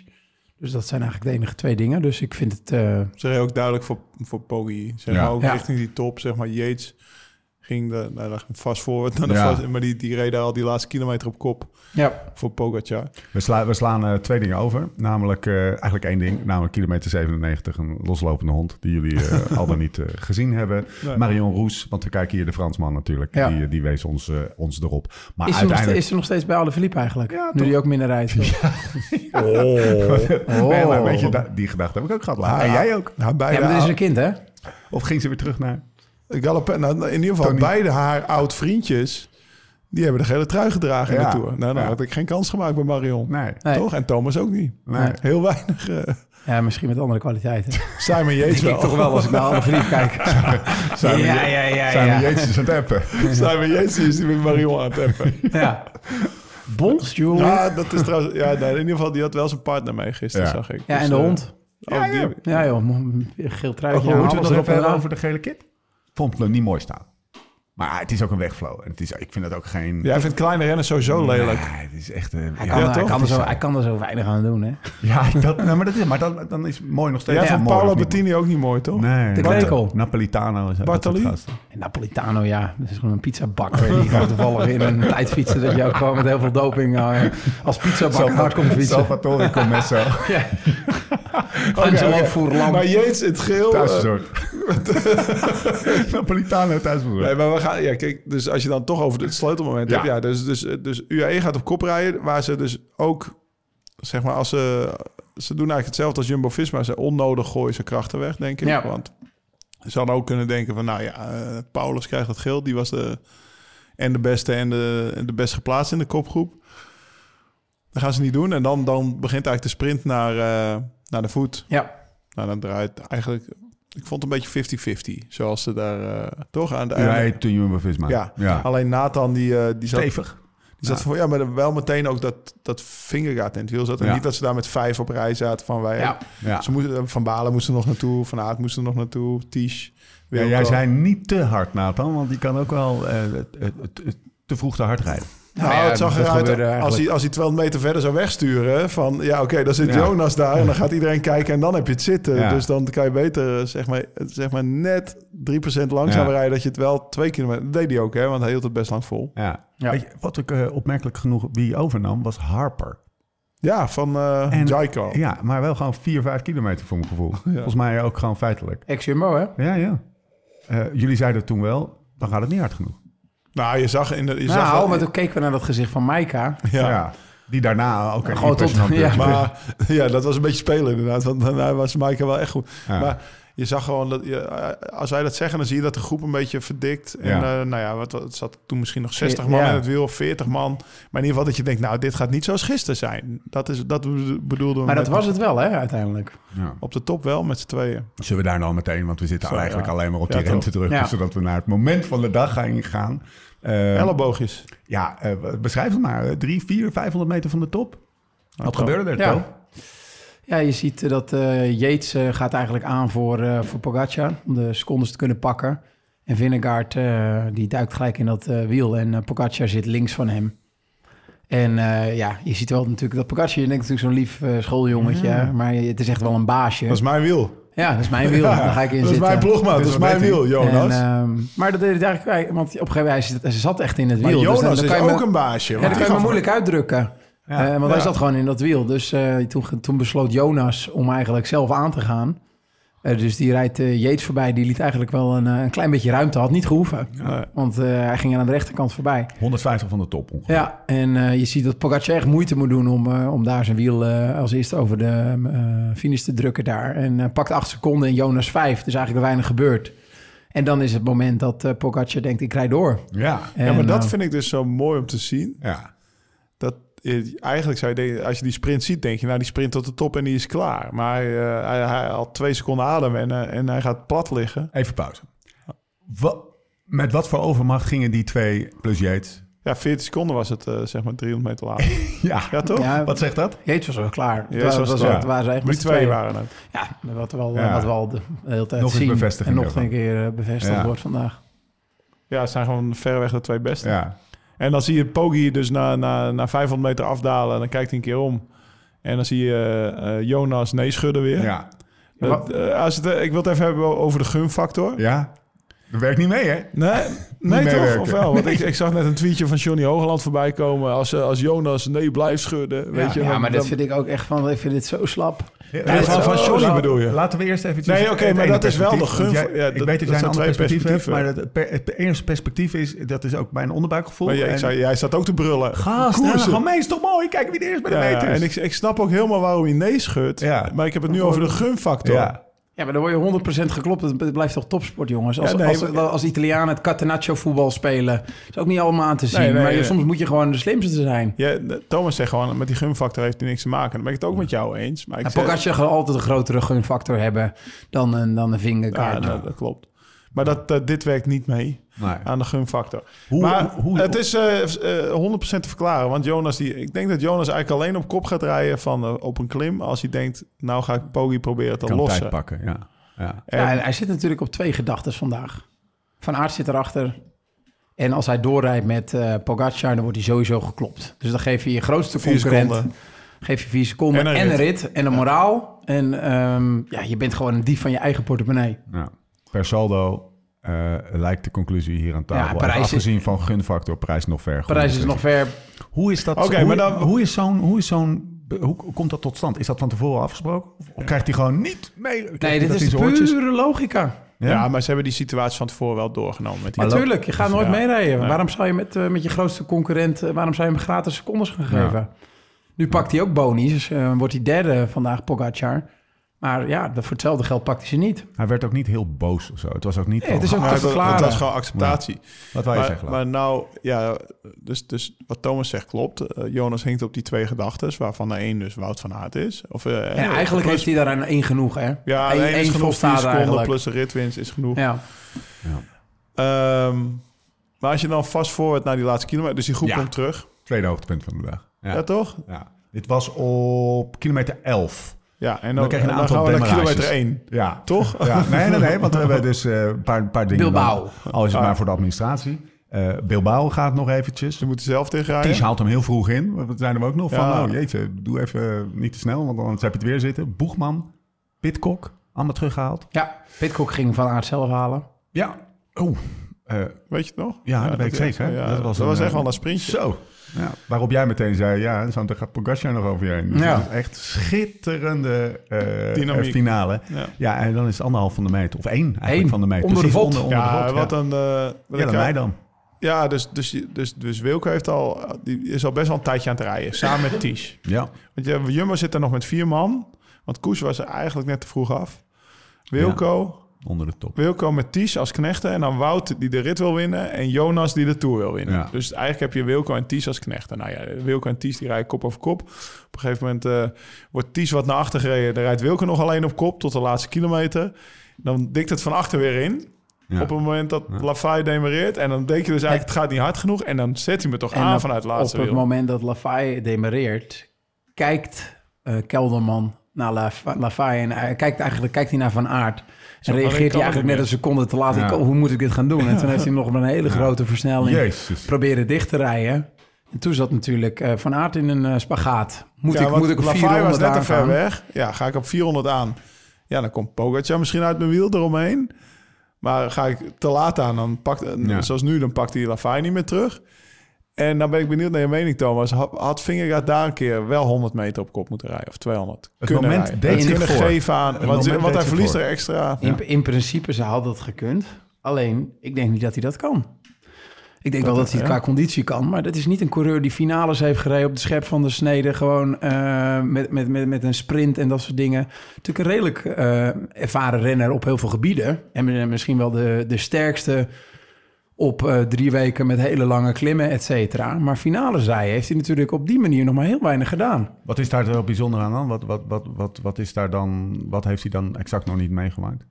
Speaker 3: Dus dat zijn eigenlijk de enige twee dingen. Dus ik vind het... eh,
Speaker 4: Zeg je ook duidelijk voor, voor Poggi. Zeg
Speaker 1: Ja.
Speaker 4: maar ook
Speaker 3: Ja.
Speaker 4: richting die top. Zeg maar Yates ging de, nou, daar ging vast voor. Naar de
Speaker 1: Ja.
Speaker 4: vast, maar die, die reed daar al die laatste kilometer op kop
Speaker 3: ja,
Speaker 4: voor Pogacar.
Speaker 1: We, sla- we slaan eh, twee dingen over. Namelijk eh, eigenlijk één ding. Namelijk kilometer 97, een loslopende hond. Die jullie eh, al dan niet eh, gezien hebben.
Speaker 4: Nee.
Speaker 1: Marion Roes, want we kijken hier de Fransman natuurlijk.
Speaker 3: Ja.
Speaker 1: Die, die wees ons, eh, ons erop. Maar
Speaker 3: is, er nog,
Speaker 1: uiteindelijk...
Speaker 3: steeds- is er nog steeds bij Alaphilippe eigenlijk?
Speaker 1: Ja,
Speaker 3: nu
Speaker 1: toch.
Speaker 3: die ook minder rijdt.
Speaker 1: Oh. Nee, maar weet je,
Speaker 3: Oh.
Speaker 1: da- die gedachte heb ik ook gehad. laatst. en jij ook.
Speaker 4: Nou,
Speaker 3: Ja,
Speaker 4: beide
Speaker 3: maar dat is
Speaker 4: haar-
Speaker 3: een kind, hè?
Speaker 1: Of ging ze weer terug naar...
Speaker 4: Galopin- nou, in ieder geval,
Speaker 1: Tony.
Speaker 4: beide haar oud vriendjes. Die hebben de gele trui gedragen in
Speaker 1: Ja.
Speaker 4: de Tour. Nou, dan
Speaker 1: Ja.
Speaker 4: had ik geen kans gemaakt bij Marion.
Speaker 1: Nee.
Speaker 3: Nee.
Speaker 4: Toch? En Thomas ook niet.
Speaker 1: Nee.
Speaker 4: Heel weinig. eh,
Speaker 3: Ja, misschien met andere kwaliteiten.
Speaker 4: Simon Yates wel.
Speaker 3: als ik naar alle verliefd kijk.
Speaker 1: Zijn we, ja, ja, ja, zijn we Jezus aan het appen?
Speaker 4: Simon Yates is die met Marion aan het appen.
Speaker 3: Ja. Bonjour. Ja,
Speaker 4: Ja, dat is trouwens... Ja, nou, in ieder geval, die had wel zijn partner mee gisteren,
Speaker 1: Ja.
Speaker 4: zag ik. Dus,
Speaker 3: en de
Speaker 4: eh,
Speaker 3: hond.
Speaker 4: oh,
Speaker 1: Ja,
Speaker 4: die
Speaker 1: ja.
Speaker 4: heb ik-
Speaker 3: Ja joh, mo- geel truitje.
Speaker 1: Oh, moeten we het nog
Speaker 3: alles erop
Speaker 1: even
Speaker 3: en
Speaker 1: hebben
Speaker 3: eraan.
Speaker 1: over de gele kit? Vond het nog niet mooi staan. Maar het is ook een wegflow. En het is, ik vind dat ook geen...
Speaker 4: Jij vindt kleine rennen sowieso oh, lelijk.
Speaker 1: Nee, het is echt... eh,
Speaker 3: Hij
Speaker 1: ja,
Speaker 3: kan,
Speaker 4: Ja,
Speaker 3: nou, hij,
Speaker 4: toch?
Speaker 3: kan er zo,
Speaker 1: Het is
Speaker 3: hij kan er zo weinig aan doen, hè?
Speaker 1: Ja, dat, nou, maar, dat is, maar dan, dan is mooi nog steeds.
Speaker 4: Jij
Speaker 1: Ja,
Speaker 4: vindt
Speaker 1: mooi,
Speaker 4: Paolo
Speaker 1: of niet
Speaker 4: Bettini ook niet mooi, toch?
Speaker 1: mooi? Nee.
Speaker 3: De
Speaker 1: Nap-
Speaker 3: krekel.
Speaker 1: Napolitano. en zo, dat
Speaker 4: Bartoli?
Speaker 1: soort gasten.
Speaker 3: En Napolitano, ja, dat is gewoon een pizzabakker. Die gaat toevallig in een tijdfietsen. Dat je ook gewoon met heel veel doping eh, als pizzabakker hard komt fietsen.
Speaker 1: Salvatore Commesso.
Speaker 3: Ja. Angelo Furlan.
Speaker 4: Maar Jeets, het geel... eh,
Speaker 1: Thuisbezorgd. Napolitano
Speaker 4: Nee,
Speaker 1: thuisbezorgd.
Speaker 4: maar we gaan, ja, kijk, dus als je dan toch over het sleutelmoment
Speaker 1: Ja.
Speaker 4: hebt, ja, dus, dus, dus UAE gaat op kop rijden, waar ze dus ook, zeg maar, als ze, ze doen eigenlijk hetzelfde als Jumbo-Visma, ze onnodig gooien ze krachten weg, denk ik,
Speaker 3: Ja.
Speaker 4: want ze hadden ook kunnen denken van, nou ja, eh, Paulus krijgt dat geel, die was de, en de beste en de, en de best geplaatst in de kopgroep. Dat gaan ze niet doen en dan, dan begint eigenlijk de sprint naar, eh, naar de voet.
Speaker 3: Ja,
Speaker 4: Nou, dan draait eigenlijk, ik vond het een beetje 50-50, zoals ze daar eh, toch aan de
Speaker 1: Nee, toen Jumbo-Visma.
Speaker 4: ja. Oh, alleen Nathan die, eh, die zat,
Speaker 1: Stevig.
Speaker 4: die zat voor, ja, maar wel meteen ook dat, dat vingergaat in het wiel zat. En
Speaker 1: Ja.
Speaker 4: niet dat ze daar met vijf op rij zaten van wij.
Speaker 3: ja.
Speaker 1: Ja.
Speaker 4: Ze moesten, van Balen moesten nog naartoe, Van Aert moesten nog naartoe, Ties.
Speaker 1: Ja, jij zei niet te hard, Nathan, want die kan ook wel eh, het- het- het- het- te vroeg te hard rijden.
Speaker 4: Nou,
Speaker 3: Nou ja,
Speaker 4: het zag
Speaker 3: dat
Speaker 4: eruit
Speaker 3: gebeurde
Speaker 4: als
Speaker 3: eigenlijk.
Speaker 4: hij, als hij 200 meter verder zou wegsturen. Van ja, oké, dan zit
Speaker 1: Ja.
Speaker 4: Jonas daar en dan gaat iedereen kijken en dan heb je het zitten.
Speaker 1: Ja.
Speaker 4: Dus dan kan je beter eh, zeg maar, eh, zeg maar net 3% langzamer
Speaker 1: Ja.
Speaker 4: rijden. Dat je het wel twee kilometer. Dat deed hij ook, hè, want hij hield het best lang vol.
Speaker 1: Ja.
Speaker 3: Ja.
Speaker 1: Weet je, wat ik eh, opmerkelijk genoeg wie overnam was Harper.
Speaker 4: Ja, van eh
Speaker 1: En-
Speaker 4: Jaiko.
Speaker 1: Ja, maar wel gewoon 4, 5 kilometer voor mijn gevoel. Volgens mij ook gewoon feitelijk.
Speaker 3: Ex-Jumbo, hè?
Speaker 1: Ja, ja. Eh, jullie zeiden toen wel, dan gaat het niet hard genoeg.
Speaker 4: Nou, je zag in de. Je zag wel-
Speaker 3: Nou, maar toen keken we naar dat gezicht van Maika.
Speaker 1: Ja.
Speaker 4: ja.
Speaker 1: Die daarna ook echt
Speaker 3: Gewoon tot-
Speaker 1: impressionant
Speaker 3: ja.
Speaker 1: is.
Speaker 4: Maar ja, dat was een beetje spelen inderdaad. Want daarna was Maaike wel echt goed.
Speaker 1: Ja.
Speaker 4: Maar je zag gewoon dat... Je, eh, als wij dat zeggen, dan zie je dat de groep een beetje verdikt. En
Speaker 1: Ja.
Speaker 4: eh, nou ja, wat, wat zat toen misschien nog 60 man
Speaker 3: Ja.
Speaker 4: in het wiel of 40 man. Maar in ieder geval dat je denkt, nou, dit gaat niet zoals gisteren zijn. Dat, is, dat bedo- bedoelden we
Speaker 3: Maar dat
Speaker 4: met-
Speaker 3: was het wel, hè, uiteindelijk.
Speaker 1: Ja.
Speaker 4: Op de top wel, met z'n tweeën.
Speaker 1: Zullen we daar nou meteen, want we zitten
Speaker 4: Zo,
Speaker 1: eigenlijk
Speaker 4: ja.
Speaker 1: alleen maar op
Speaker 4: Ja,
Speaker 1: die
Speaker 4: toch.
Speaker 1: rente terug.
Speaker 3: Ja.
Speaker 1: Zodat we naar het moment van de dag gaan gaan. Eh,
Speaker 4: Elleboogjes.
Speaker 1: ja, eh, beschrijf het maar. Eh, Drie, vier, 500 meter van de top. Wat gebeurde er,
Speaker 3: Ja.
Speaker 1: Toon?
Speaker 3: Ja, je ziet eh, dat eh, Yates eh, gaat eigenlijk aan voor, eh voor Pogacar om de secondes te kunnen pakken. En Vingegaard eh, die duikt gelijk in dat eh, wiel en eh, Pogacar zit links van hem. En eh, ja, je ziet wel natuurlijk dat Pogacar, je denkt natuurlijk zo'n lief eh, schooljongetje, hè, maar het is echt wel een baasje.
Speaker 4: Dat is mijn wiel.
Speaker 3: Ja, dat is mijn wiel, daar ga ik in
Speaker 4: dat is
Speaker 3: zitten.
Speaker 4: mijn ploegmaat. Dat
Speaker 1: Dit
Speaker 4: is
Speaker 1: is wat
Speaker 4: mijn
Speaker 1: deed hij.
Speaker 4: wiel, Jonas.
Speaker 3: En, ehm, maar dat deed het eigenlijk, want op een gegeven moment hij zat, hij zat echt in het
Speaker 4: maar
Speaker 3: wiel. dus dan-
Speaker 4: Jonas
Speaker 3: dan
Speaker 4: is
Speaker 3: kan je me-
Speaker 4: ook een baasje.
Speaker 3: ja,
Speaker 4: want
Speaker 3: dat
Speaker 4: die
Speaker 3: kan je me
Speaker 4: gaf-
Speaker 3: moeilijk uitdrukken.
Speaker 1: Ja.
Speaker 3: Eh, want hij
Speaker 4: Ja.
Speaker 3: zat gewoon in dat wiel. Dus eh, toen, toen besloot Jonas om eigenlijk zelf aan te gaan. Eh, dus die rijdt eh, Yates voorbij. Die liet eigenlijk wel een, eh, een klein beetje ruimte. Had niet gehoeven.
Speaker 4: Nee.
Speaker 3: Want eh, hij ging aan de rechterkant voorbij.
Speaker 1: 150 van de top ongeveer.
Speaker 3: Ja, en eh, je ziet dat Pogacar echt moeite moet doen om, eh, om daar zijn wiel eh, als eerste over de eh, finish te drukken daar. En eh, pakt acht seconden en Jonas vijf. Dus eigenlijk weinig gebeurd. En dan is het moment dat eh Pogacar denkt, ik rijd door.
Speaker 1: Ja.
Speaker 4: Ja, maar
Speaker 3: En,
Speaker 4: dat
Speaker 3: eh,
Speaker 4: vind ik dus zo mooi om te zien.
Speaker 1: Ja.
Speaker 4: dat eh, eigenlijk zou je denken, als je die sprint ziet, denk je, nou die sprint tot de top en die is klaar. Maar eh, hij, hij had twee seconden adem en, eh, en hij gaat plat liggen.
Speaker 1: Even pauze. Wa- met wat voor overmacht gingen die twee plus Yates?
Speaker 4: Ja, 40 seconden was het, eh, zeg maar 300 meter later.
Speaker 1: Ja.
Speaker 4: Ja, toch?
Speaker 3: Ja,
Speaker 1: Wat zegt dat?
Speaker 3: Yates was wel klaar.
Speaker 4: Ja,
Speaker 3: Het was,
Speaker 4: zo was
Speaker 3: was,
Speaker 4: het,
Speaker 3: het
Speaker 1: ja.
Speaker 3: waren ze echt
Speaker 4: Die
Speaker 3: met z'n
Speaker 4: twee
Speaker 3: tweeën.
Speaker 4: waren het.
Speaker 3: Ja, wat wel,
Speaker 1: Ja.
Speaker 3: Wat wel de de hele tijd
Speaker 1: Nog eens
Speaker 3: zien.
Speaker 1: bevestiging
Speaker 3: En nog
Speaker 1: daarvan.
Speaker 3: een keer eh, bevestigd
Speaker 1: Ja.
Speaker 3: wordt vandaag.
Speaker 4: Ja, het zijn gewoon verreweg de twee beste.
Speaker 1: Ja.
Speaker 4: En dan zie je Poggi dus na, na, na 500 meter afdalen en dan kijkt hij een keer om. En dan zie je eh, eh, Jonas nee schudden weer.
Speaker 1: Ja.
Speaker 4: Dat, eh, als het, eh, ik wil het even hebben over de gunfactor.
Speaker 1: Ja. Dat werkt niet mee, hè?
Speaker 4: Nee, nee toch?
Speaker 1: meewerken.
Speaker 4: Of wel? Want ik, ik zag net een tweetje van Johnny Hogeland voorbij komen. Als, eh, als Jonas nee blijft schudden, weet je.
Speaker 3: Ja,
Speaker 4: dan-
Speaker 3: maar dat
Speaker 4: dan-
Speaker 3: vind ik ook echt van, ik vind dit zo slap.
Speaker 1: Ja,
Speaker 4: van-
Speaker 1: laten-
Speaker 4: van Johnny
Speaker 1: laten-
Speaker 4: bedoel je?
Speaker 1: Laten we eerst even...
Speaker 4: Nee,
Speaker 1: het
Speaker 4: oké,
Speaker 1: ene
Speaker 4: maar dat is wel
Speaker 1: perspectief,
Speaker 4: de gun-
Speaker 1: want jij-
Speaker 4: ja,
Speaker 1: ik
Speaker 4: dat-
Speaker 1: weet dat
Speaker 4: dat
Speaker 1: jij een
Speaker 4: zijn
Speaker 1: ander
Speaker 4: twee
Speaker 1: perspectief hebt,
Speaker 4: perspectieven.
Speaker 1: maar het, per- het eerste perspectief is... Dat is ook mijn onderbuikgevoel.
Speaker 4: Maar jij, ik
Speaker 1: En-
Speaker 4: zei, jij staat ook te brullen.
Speaker 1: Gast,
Speaker 4: Koersen.
Speaker 1: hè, gewoon mee, is toch mooi? Kijk wie er eerst bij de
Speaker 4: Ja,
Speaker 1: meter is.
Speaker 4: en ik, ik snap ook helemaal waarom hij nee schudt.
Speaker 1: Ja.
Speaker 4: Maar ik heb het nu over de gunfactor.
Speaker 1: Ja.
Speaker 3: Ja, maar dan word je 100% geklopt. Het het blijft toch topsport, jongens. Als,
Speaker 4: Ja, nee,
Speaker 3: als,
Speaker 4: maar-
Speaker 3: als Italianen het Catenaccio voetbal spelen, is ook niet allemaal aan te zien.
Speaker 4: Nee, nee,
Speaker 3: maar je-
Speaker 4: nee.
Speaker 3: soms moet je gewoon de slimste zijn.
Speaker 4: Ja, Thomas zegt gewoon, met die gunfactor heeft hij niks te maken. Dan ben ik het ook met jou eens. Maar ik
Speaker 3: En
Speaker 4: zeg-
Speaker 3: Pogacar gaat altijd een grotere gunfactor hebben dan een, dan een
Speaker 4: Ja,
Speaker 3: vingerkaart.
Speaker 4: nou, dat klopt. Maar dat, eh, dit werkt niet mee
Speaker 1: Nee.
Speaker 4: aan de gunfactor.
Speaker 1: Hoe-
Speaker 4: maar
Speaker 1: hoe- hoe-
Speaker 4: het is eh, eh, 100% te verklaren. Want Jonas, die, ik denk dat Jonas eigenlijk alleen op kop gaat rijden van, eh, op een klim... als hij denkt, nou ga ik Poggi proberen te
Speaker 1: kan
Speaker 4: lossen.
Speaker 1: tijd pakken, ja. ja.
Speaker 4: En,
Speaker 3: Ja, en hij zit natuurlijk op twee gedachten vandaag. Van Aert zit erachter. En als hij doorrijdt met eh Pogacar, dan wordt hij sowieso geklopt. Dus dan geef je je grootste
Speaker 4: Vier
Speaker 3: concurrent...
Speaker 4: seconden.
Speaker 3: Geef je vier seconden en een rit en een, moraal. En ehm, ja, je bent gewoon een dief van je eigen portemonnee.
Speaker 1: Ja. Per saldo eh, lijkt de conclusie hier aan tafel.
Speaker 3: Ja,
Speaker 1: even
Speaker 3: Parijs is-
Speaker 1: afgezien van gunfactor, Parijs nog ver.
Speaker 3: Parijs is
Speaker 1: Goed.
Speaker 3: nog ver.
Speaker 1: Hoe is dat?
Speaker 4: Oké,
Speaker 1: hoe,
Speaker 4: maar dan-
Speaker 1: hoe is zo'n hoe is zo'n hoe komt dat tot stand? Is dat van tevoren afgesproken? Of krijgt hij gewoon niet mee? Krijgt hij
Speaker 3: Nee, dit
Speaker 1: dat in
Speaker 3: is
Speaker 1: zijn oortjes?
Speaker 3: pure logica.
Speaker 4: Ja.
Speaker 1: Ja.
Speaker 4: maar ze hebben die situatie van tevoren wel doorgenomen. Met die
Speaker 1: Maar lo-
Speaker 3: Natuurlijk, je gaat nooit
Speaker 4: ja.
Speaker 3: meerijden.
Speaker 4: Nee.
Speaker 3: Waarom zou je met, eh, met je grootste concurrent, eh, waarom zou je hem gratis secondes gaan
Speaker 1: Ja.
Speaker 3: geven? Nu pakt hij ook bonies, dus, eh, wordt hij derde vandaag, Pogacar. Maar ja, dat voor hetzelfde geld pakt hij ze niet.
Speaker 1: Hij werd ook niet heel boos of zo. Het was ook niet.
Speaker 3: Nee, het is ook
Speaker 1: van, "Ah,
Speaker 4: Maar
Speaker 3: te
Speaker 4: dat- dat
Speaker 3: verklaren.
Speaker 4: was gewoon acceptatie.
Speaker 1: Wat wij
Speaker 4: maar,
Speaker 1: zeggen. Lau.
Speaker 4: maar nou, ja, dus, dus wat Thomas zegt klopt. Eh, Jonas hinkt op die twee gedachten, waarvan de één dus Wout van Aert is. Of, eh,
Speaker 3: En eigenlijk
Speaker 4: plus-
Speaker 3: heeft hij daar een één genoeg, hè?
Speaker 4: Ja,
Speaker 3: Eén-
Speaker 4: één is
Speaker 3: één
Speaker 4: genoeg.
Speaker 3: volstaat
Speaker 4: Vier seconden
Speaker 3: eigenlijk.
Speaker 4: plus een ritwinst is genoeg.
Speaker 3: Ja.
Speaker 4: Ehm, maar als je dan vast voorwaarts naar die laatste kilometer... Dus die groep
Speaker 1: Ja.
Speaker 4: komt terug.
Speaker 1: Tweede hoogtepunt van de dag. Ja.
Speaker 4: Ja, toch?
Speaker 1: Ja. Dit was op kilometer 11.
Speaker 4: Ja, en dan,
Speaker 1: Dan krijg je een
Speaker 4: en dan
Speaker 1: aantal
Speaker 4: gaan we naar
Speaker 1: demarages.
Speaker 4: kilometer 1.
Speaker 1: Ja.
Speaker 4: Toch?
Speaker 1: Ja, nee, nee, nee, want we hebben dus eh, een paar, een paar dingen.
Speaker 3: Bilbao.
Speaker 1: dan. Al is het maar voor de administratie. Eh, Bilbao gaat nog eventjes.
Speaker 4: Ze moeten zelf
Speaker 1: Ties
Speaker 4: tegenrijden.
Speaker 1: haalt hem heel vroeg in. We zijn er ook nog
Speaker 4: Ah, Ja.
Speaker 1: van. Oh jeetje, doe even eh, niet te snel, want anders heb je het weer zitten. Boegman, Pitcock, allemaal teruggehaald.
Speaker 3: ja, Pitcock ging van Aert zelf halen.
Speaker 1: Ja. Oh, eh,
Speaker 4: Weet je het nog?
Speaker 1: ja, dat weet ik zeker. hè?
Speaker 4: ja, dat was echt wel een sprintje.
Speaker 1: Zo. Ja, waarop jij meteen zei, ja, zo, daar gaat Pogacar nog over je heen. Dus
Speaker 3: Ja.
Speaker 1: dat is echt schitterende eh,
Speaker 4: Dynamiek.
Speaker 1: eh, finale.
Speaker 4: Ja.
Speaker 1: Ja, en dan is het anderhalf van de meter. Of één eigenlijk
Speaker 3: Eén.
Speaker 1: van de meter.
Speaker 3: Onder de
Speaker 1: Precies, Onder,
Speaker 3: vod.
Speaker 1: onder de
Speaker 4: Ja,
Speaker 1: vod,
Speaker 4: wat
Speaker 1: ja.
Speaker 4: een... eh, wat
Speaker 1: Ja,
Speaker 4: een-
Speaker 1: dan mij dan.
Speaker 4: Ja, dus, dus, dus, dus Wilco heeft al, die is al best wel een tijdje aan het rijden. Samen met Ties.
Speaker 1: Ja.
Speaker 4: Want ja, Jumbo zit er nog met vier man. Want Koes was er eigenlijk net te vroeg af. Wilco,
Speaker 1: Onder de top.
Speaker 4: Wilco met Ties als knechten. En dan Wout die de rit wil winnen. En Jonas die de Tour wil winnen.
Speaker 1: Ja.
Speaker 4: Dus eigenlijk heb je Wilco en Ties als knechten. Nou ja, Wilco en Ties die rijden kop over kop. Op een gegeven moment eh, wordt Ties wat naar achter gereden. Dan rijdt Wilco nog alleen op kop tot de laatste kilometer. Dan dikt het van achter weer in.
Speaker 1: Ja.
Speaker 4: Op het moment dat Lafaye demareert. En dan denk je dus eigenlijk, het gaat niet hard genoeg. En dan zet hij me toch aan
Speaker 3: op-
Speaker 4: Ah, vanuit het laatste
Speaker 3: Op het
Speaker 4: wiel.
Speaker 3: moment dat Lafaye demareert, kijkt eh, Kelderman naar Laf- Lafaye en hij kijkt eigenlijk kijkt hij naar Van Aert. En reageert
Speaker 4: alleen kan
Speaker 3: hij
Speaker 4: het niet
Speaker 3: eigenlijk net
Speaker 4: meer.
Speaker 3: een seconde te laat.
Speaker 1: Ja.
Speaker 3: Ik- oh, hoe moet ik dit gaan doen? En toen heeft hij hem nog op een hele grote versnelling
Speaker 1: Jezus.
Speaker 3: proberen dicht te rijden. En toen zat natuurlijk eh, Van Aert in een eh, spagaat. Moet
Speaker 4: ja,
Speaker 3: ik,
Speaker 4: want
Speaker 3: moet ik op
Speaker 4: Lafaye
Speaker 3: 400
Speaker 4: was net te ver
Speaker 3: aangaan?
Speaker 4: weg. Ja, ga ik op 400 aan. Ja, dan komt Pogacar misschien uit mijn wiel eromheen. Maar ga ik te laat aan, dan pakt,
Speaker 1: Ja.
Speaker 4: zoals nu, dan pakt hij Lafaye niet meer terug. En dan ben ik benieuwd naar je mening, Thomas. Had, had Vingegaard daar een keer wel 100 meter op kop moeten rijden? Of 200?
Speaker 1: Het moment deed
Speaker 4: het
Speaker 1: zich
Speaker 4: kunnen
Speaker 1: voor.
Speaker 4: geven aan.
Speaker 1: Het
Speaker 4: Want,
Speaker 1: moment
Speaker 4: want hij
Speaker 1: deed zich
Speaker 4: verliest
Speaker 1: voor.
Speaker 4: er extra.
Speaker 3: In, in principe, ze had dat gekund. Alleen, ik denk niet dat hij dat kan. Ik denk wel dat hij het
Speaker 4: ja.
Speaker 3: qua conditie kan. Maar dat is niet een coureur die finales heeft gereden op de scherp van de snede. Gewoon eh, met, met, met, met een sprint en dat soort dingen. Natuurlijk een redelijk eh, ervaren renner op heel veel gebieden. En eh, misschien wel de, de sterkste op eh, drie weken met hele lange klimmen, et cetera. Maar finales rijden heeft hij natuurlijk op die manier nog maar heel weinig gedaan.
Speaker 1: Wat is daar zo bijzonder aan dan? Wat, wat, wat, wat, wat, is daar dan? wat heeft hij dan exact nog niet meegemaakt?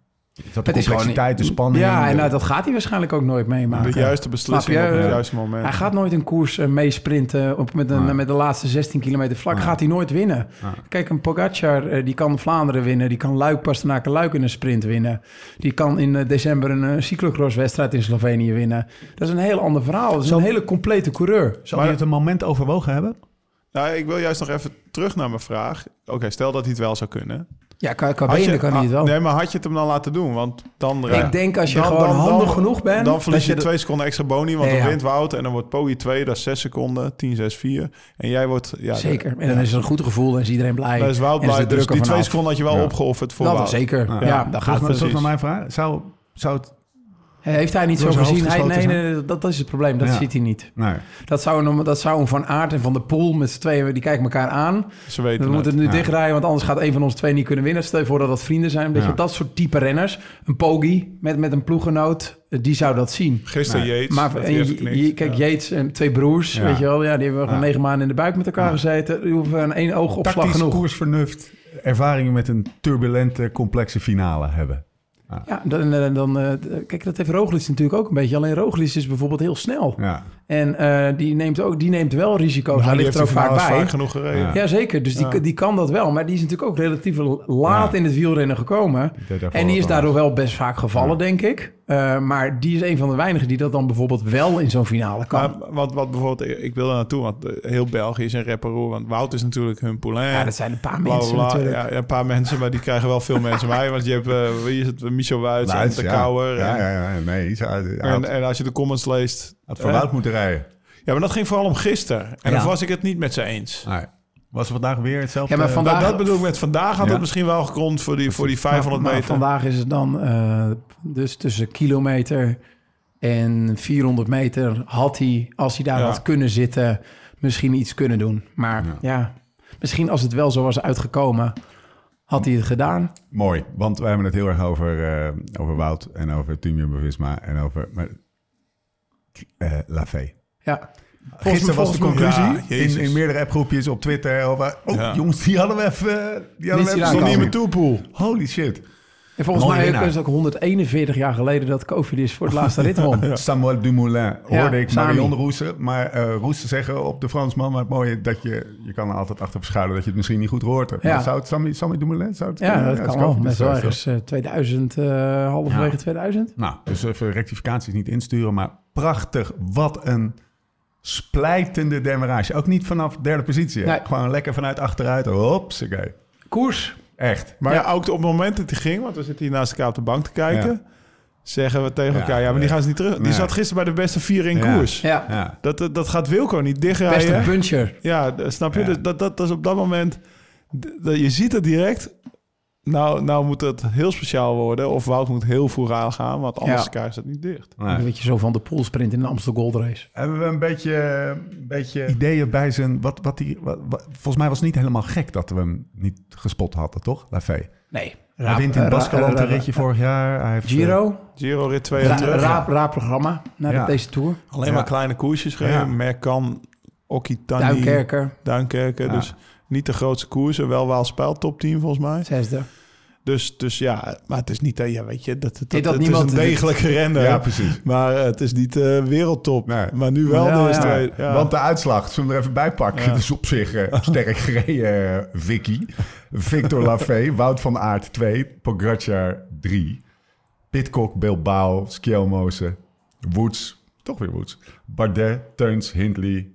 Speaker 1: Is dat de
Speaker 3: Het is gewoon-
Speaker 1: complexiteit, de spanning?
Speaker 3: Ja, en
Speaker 1: de-
Speaker 3: nou, dat gaat hij waarschijnlijk ook nooit meemaken.
Speaker 4: De juiste beslissing
Speaker 3: Snap je?
Speaker 4: op het
Speaker 3: Ja.
Speaker 4: juiste moment.
Speaker 3: Hij gaat nooit een koers eh, meesprinten op met, een,
Speaker 1: Nee.
Speaker 3: met de laatste 16 kilometer vlak. Gaat hij nooit winnen.
Speaker 1: Nee.
Speaker 3: Kijk, een Pogacar eh, die kan Vlaanderen winnen. Die kan Luik, Pastenaken, Luik in een sprint winnen. Die kan in eh, december een eh, cyclocrosswedstrijd in Slovenië winnen. Dat is een heel ander verhaal. Dat is een hele complete coureur.
Speaker 1: Zou hij het een moment overwogen hebben?
Speaker 4: Nou, ik wil juist nog even terug naar mijn vraag. Oké, stel dat hij het wel zou kunnen.
Speaker 3: Ja, qua, qua
Speaker 4: Had je-
Speaker 3: benen kan hij het wel.
Speaker 4: ah, Nee, maar had je het hem dan laten doen? Want dan
Speaker 3: Ik denk als je gewoon handig genoeg bent...
Speaker 4: Dan verlies
Speaker 3: dat
Speaker 4: je
Speaker 3: de-
Speaker 4: twee seconden extra boni, want
Speaker 3: Ja,
Speaker 4: dan
Speaker 3: ja.
Speaker 4: wint Wout en dan wordt Poggi 2, dat is 6 seconden, 10, 6, 4. En jij wordt... Ja, de-
Speaker 3: Zeker. En dan is het een goed gevoel. Dan is iedereen blij.
Speaker 4: Dan is Wout
Speaker 3: En is de
Speaker 4: blij. Dus
Speaker 3: druk er
Speaker 4: die twee
Speaker 3: vanaf.
Speaker 4: seconden had je wel
Speaker 1: Ja.
Speaker 4: opgeofferd voor
Speaker 3: Dat wel
Speaker 4: Wout.
Speaker 3: zeker. Ja, dan gaat het.
Speaker 1: Terug
Speaker 4: precies.
Speaker 1: naar mijn vraag. Zou, zou het...
Speaker 3: Heeft hij niet zo
Speaker 1: Door zijn
Speaker 3: gezien?
Speaker 1: hoofd
Speaker 3: Hij, nee,
Speaker 1: geschoten
Speaker 3: nee, nee, dat, dat is het probleem. Dat
Speaker 1: Ja.
Speaker 3: ziet hij niet.
Speaker 6: Nou,
Speaker 1: Nee.
Speaker 3: Dat zou, een, dat zou een Van Aert en Van der Poel met z'n tweeën, die kijken elkaar aan.
Speaker 4: Ze weten
Speaker 3: We
Speaker 4: het.
Speaker 3: moeten nu
Speaker 1: Ja.
Speaker 3: dichtrijden, want anders gaat een van ons twee niet kunnen winnen. Stel je voor dat dat vrienden zijn. Weet je,
Speaker 1: Ja.
Speaker 3: dat soort type renners. Een Pogi met, met een ploegenoot, eh, die zou dat zien.
Speaker 4: Gisteren
Speaker 1: Nee.
Speaker 4: Yates.
Speaker 3: Maar
Speaker 4: dat
Speaker 3: en,
Speaker 4: hij even
Speaker 3: je-
Speaker 4: knikt.
Speaker 3: je- kijk,
Speaker 4: Ja.
Speaker 3: Yates en twee broers,
Speaker 1: Ja.
Speaker 3: weet je wel. Ja, die hebben gewoon
Speaker 1: Ja.
Speaker 3: negen maanden in de buik met elkaar
Speaker 1: Ja.
Speaker 3: gezeten. Die hoeven aan één oogopslag
Speaker 1: Tactisch
Speaker 3: genoeg.
Speaker 1: koersvernuft. Ervaringen met een turbulente, complexe finale hebben.
Speaker 3: Ja, dan, dan, dan, eh, kijk, dat heeft Roglic natuurlijk ook een beetje. Alleen Roglic is bijvoorbeeld heel snel.
Speaker 1: Ja.
Speaker 3: En eh, die, neemt ook, die neemt wel risico's.
Speaker 4: Nou,
Speaker 3: Hij
Speaker 4: die
Speaker 3: ligt er ook
Speaker 4: heeft die
Speaker 3: vaak
Speaker 4: finales
Speaker 3: bij.
Speaker 4: vaak genoeg gereden.
Speaker 1: Ja.
Speaker 3: Jazeker, dus die, die kan dat wel. Maar die is natuurlijk ook relatief laat
Speaker 1: Ja.
Speaker 3: in het wielrennen gekomen.
Speaker 1: deed daar
Speaker 3: En die is
Speaker 1: wel wat
Speaker 3: daardoor wel best vaak gevallen,
Speaker 1: Ja.
Speaker 3: denk ik. Eh, maar die is een van de weinigen die dat dan bijvoorbeeld wel in zo'n finale kan.
Speaker 4: Maar wat, wat bijvoorbeeld, ik wil daar naartoe, want eh, heel België is een rapperoer. Want Wout is natuurlijk hun poulain.
Speaker 3: ja, dat zijn een paar
Speaker 4: Bla, bla,
Speaker 3: mensen
Speaker 4: bla.
Speaker 3: natuurlijk.
Speaker 4: Ja, een paar mensen, maar die krijgen wel veel mensen bij. Want je hebt, eh, wie is het, Michel Wuits en
Speaker 6: Luids,
Speaker 4: de
Speaker 6: Nou, ja.
Speaker 4: Kouwer.
Speaker 6: Ja,
Speaker 4: en,
Speaker 6: ja, ja. Nee, hij had, hij
Speaker 4: En,
Speaker 6: had,
Speaker 4: en als je de comments leest... eh,
Speaker 6: had voor
Speaker 3: eh.
Speaker 6: Wout moeten rijden.
Speaker 4: Ja, maar dat ging vooral om gisteren. En
Speaker 3: Ja.
Speaker 4: dan was ik het niet met ze eens.
Speaker 6: Nee. Was er vandaag weer hetzelfde?
Speaker 3: Ja, maar vandaag-
Speaker 4: Maar dat bedoel ik met vandaag had
Speaker 6: Ja.
Speaker 4: het misschien wel gegrond voor die, voor die 500
Speaker 3: Maar- maar
Speaker 4: meter.
Speaker 3: vandaag is het dan eh, dus tussen kilometer en 400 meter had hij, als hij daar
Speaker 4: Ja.
Speaker 3: had kunnen zitten, misschien iets kunnen doen. Maar ja. misschien als het wel zo was uitgekomen, had hij het gedaan.
Speaker 6: Mooi, want wij hebben het heel erg over, eh, over Wout en over Team Jumbo-Visma en over maar, eh Lafay.
Speaker 3: Ja,
Speaker 6: Gisteren was
Speaker 3: volgens
Speaker 6: de
Speaker 3: mij-
Speaker 6: conclusie
Speaker 4: Ja, jezus.
Speaker 6: in, in meerdere appgroepjes op Twitter. Over, oh,
Speaker 4: Ja.
Speaker 6: jongens, die hadden we even... eh, Die
Speaker 3: Niet
Speaker 6: hadden we
Speaker 3: zien
Speaker 6: even
Speaker 4: Stond niet in
Speaker 3: aankomen.
Speaker 4: mijn toepool.
Speaker 6: Holy shit.
Speaker 3: en volgens
Speaker 6: Mooie
Speaker 3: mij
Speaker 6: winnaar.
Speaker 3: is het ook 141 jaar geleden dat Cofidis voor het laatste rit won.
Speaker 6: Samuel Dumoulin hoorde ik
Speaker 3: Sami.
Speaker 6: Marion Roesen, maar eh Roesen zeggen op de Fransman. Maar het mooie dat je, je kan er altijd achter verschuilen dat je het misschien niet goed hoort. hebt.
Speaker 3: Ja.
Speaker 6: Maar zou het Sammy, Sammy Dumoulin? Zou het,
Speaker 3: Ja,
Speaker 6: eh,
Speaker 3: dat
Speaker 6: het
Speaker 3: kan wel.
Speaker 6: Covid
Speaker 3: Met
Speaker 6: is
Speaker 3: wel
Speaker 6: geweest,
Speaker 3: ergens eh, 2000, eh, halverwege 2000.
Speaker 6: Nou, dus even rectificaties niet insturen, maar prachtig. Wat een splijtende demarage. Ook niet vanaf derde positie. hè?
Speaker 3: Nee.
Speaker 6: Gewoon lekker vanuit achteruit. Hopsakee.
Speaker 3: Koers.
Speaker 6: Echt.
Speaker 4: Maar ook op het moment dat hij ging, want we zitten hier naast elkaar op de bank te kijken, zeggen we tegen
Speaker 6: Ja,
Speaker 4: elkaar, ja, maar die
Speaker 6: eh,
Speaker 4: gaan ze niet terug. Die
Speaker 6: nee.
Speaker 4: zat gisteren bij de beste vier in
Speaker 6: Ja.
Speaker 4: koers.
Speaker 3: Ja,
Speaker 6: Ja.
Speaker 4: Dat, dat, dat gaat Wilco niet
Speaker 3: beste
Speaker 4: dichtrijden.
Speaker 3: puncher.
Speaker 4: Ja, d- snap je?
Speaker 6: Ja.
Speaker 4: Dus Dat, dat, dat is op dat moment, d- dat, je ziet het direct. Nou, nou moet dat heel speciaal worden. Of Wout moet heel vroeg aangaan, want anders
Speaker 3: Ja.
Speaker 4: krijgt ze het niet dicht.
Speaker 6: Nou,
Speaker 3: Weet je, zo van de poolsprint in de Amstel Gold Race.
Speaker 6: Hebben we een beetje, een beetje ideeën bij zijn... Wat, wat die, wat- wat- volgens mij was het niet helemaal gek dat we hem niet gespot hadden, toch? Lafay.
Speaker 3: Nee. eh,
Speaker 6: Hij wint in Baskeland een ritje vorig jaar. Hij heeft, eh,
Speaker 3: Giro,
Speaker 4: Giro rit 2
Speaker 3: Ra-
Speaker 4: en terug.
Speaker 3: raar, raar programma naar
Speaker 6: Ja.
Speaker 3: deze tour.
Speaker 4: Alleen
Speaker 6: Ja.
Speaker 4: maar kleine koersjes gereden.
Speaker 6: Ja.
Speaker 4: Merkan, Occitanie, Duinkerken.
Speaker 3: Duinkerker,
Speaker 6: Ja.
Speaker 4: Dus niet de grootste koersen. Wel Waal Spijl top 10 volgens mij.
Speaker 3: zesde.
Speaker 4: Dus, dus ja, maar het is niet... eh, Ja, weet je, dat, dat,
Speaker 3: Nee, dat
Speaker 4: het
Speaker 3: niemand-
Speaker 4: is een degelijke
Speaker 6: eh,
Speaker 4: renner.
Speaker 6: ja, precies.
Speaker 4: maar eh, het is niet eh, wereldtop.
Speaker 6: Nee.
Speaker 4: Maar nu wel
Speaker 3: Ja,
Speaker 4: de
Speaker 3: ja.
Speaker 4: twee. Ja.
Speaker 6: Want de uitslag, zullen we er even bij pakken?
Speaker 4: Ja.
Speaker 6: Het is op zich eh, sterk gereden, eh, Vicky. Victor Lafay, Wout van Aert 2, Pogacar 3. Pitcock, Bilbao, Skelmosen, Woods, toch weer Woods. Bardet, Teuns, Hindley,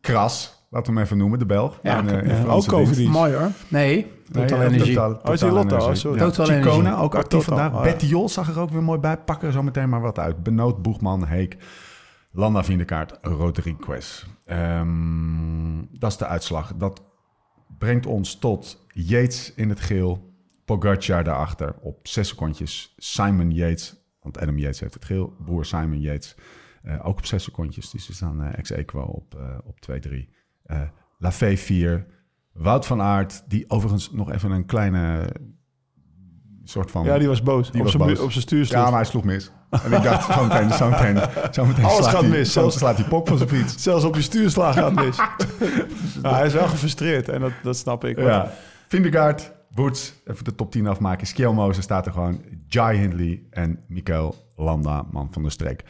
Speaker 6: Kras, laten we hem even noemen, de Belg.
Speaker 3: Ja,
Speaker 6: En, eh, in
Speaker 4: ja,
Speaker 6: Franse
Speaker 4: ook
Speaker 6: dienst.
Speaker 4: Covidie.
Speaker 3: Mooi hoor. Nee,
Speaker 6: Nee,
Speaker 3: Total
Speaker 6: ja,
Speaker 3: Energy.
Speaker 6: Total,
Speaker 4: Oh, is die
Speaker 6: Total
Speaker 4: Lotto?
Speaker 6: Energy.
Speaker 4: Oh, sorry.
Speaker 6: Ja.
Speaker 3: Total
Speaker 6: Chicone,
Speaker 3: Energy.
Speaker 6: ook
Speaker 4: Oh,
Speaker 6: actief
Speaker 4: Total,
Speaker 6: vandaag.
Speaker 4: oh, ja.
Speaker 6: Bettiol zag er ook weer mooi bij. Pak er zo meteen maar wat uit. Benoot, Boegman, Heek, Landa Vindekaart, Rodriguez. Ehm dat is de uitslag. Dat brengt ons tot Yates in het geel. Pogacar daarachter op zes secondjes. Simon Yates, want Adam Yates heeft het geel. Broer Simon Yates eh, ook op zes secondjes. Dus ze staan eh, ex-equo op, eh, op 2-3. Eh Lafay 4. Wout van Aert, die overigens nog even een kleine soort van...
Speaker 4: Ja, die was boos.
Speaker 6: Die
Speaker 4: op
Speaker 6: was
Speaker 4: zijn
Speaker 6: boos.
Speaker 4: bu- op zijn stuur
Speaker 6: Ja, maar hij sloeg mis. En ik dacht, zo meteen, zo meteen, zo meteen
Speaker 4: Alles
Speaker 6: slaat
Speaker 4: gaat
Speaker 6: hij-
Speaker 4: mis.
Speaker 6: Zo meteen slaat hij pop van zijn fiets.
Speaker 4: Zelfs op je stuurslaag gaat mis. Nou, hij is wel gefrustreerd en dat, dat snap ik.
Speaker 6: Ja. Vindegaard, Woods, even de top 10 afmaken. Skelmozen staat er gewoon. Jai Hindley en Mikael Landa, man van de streek.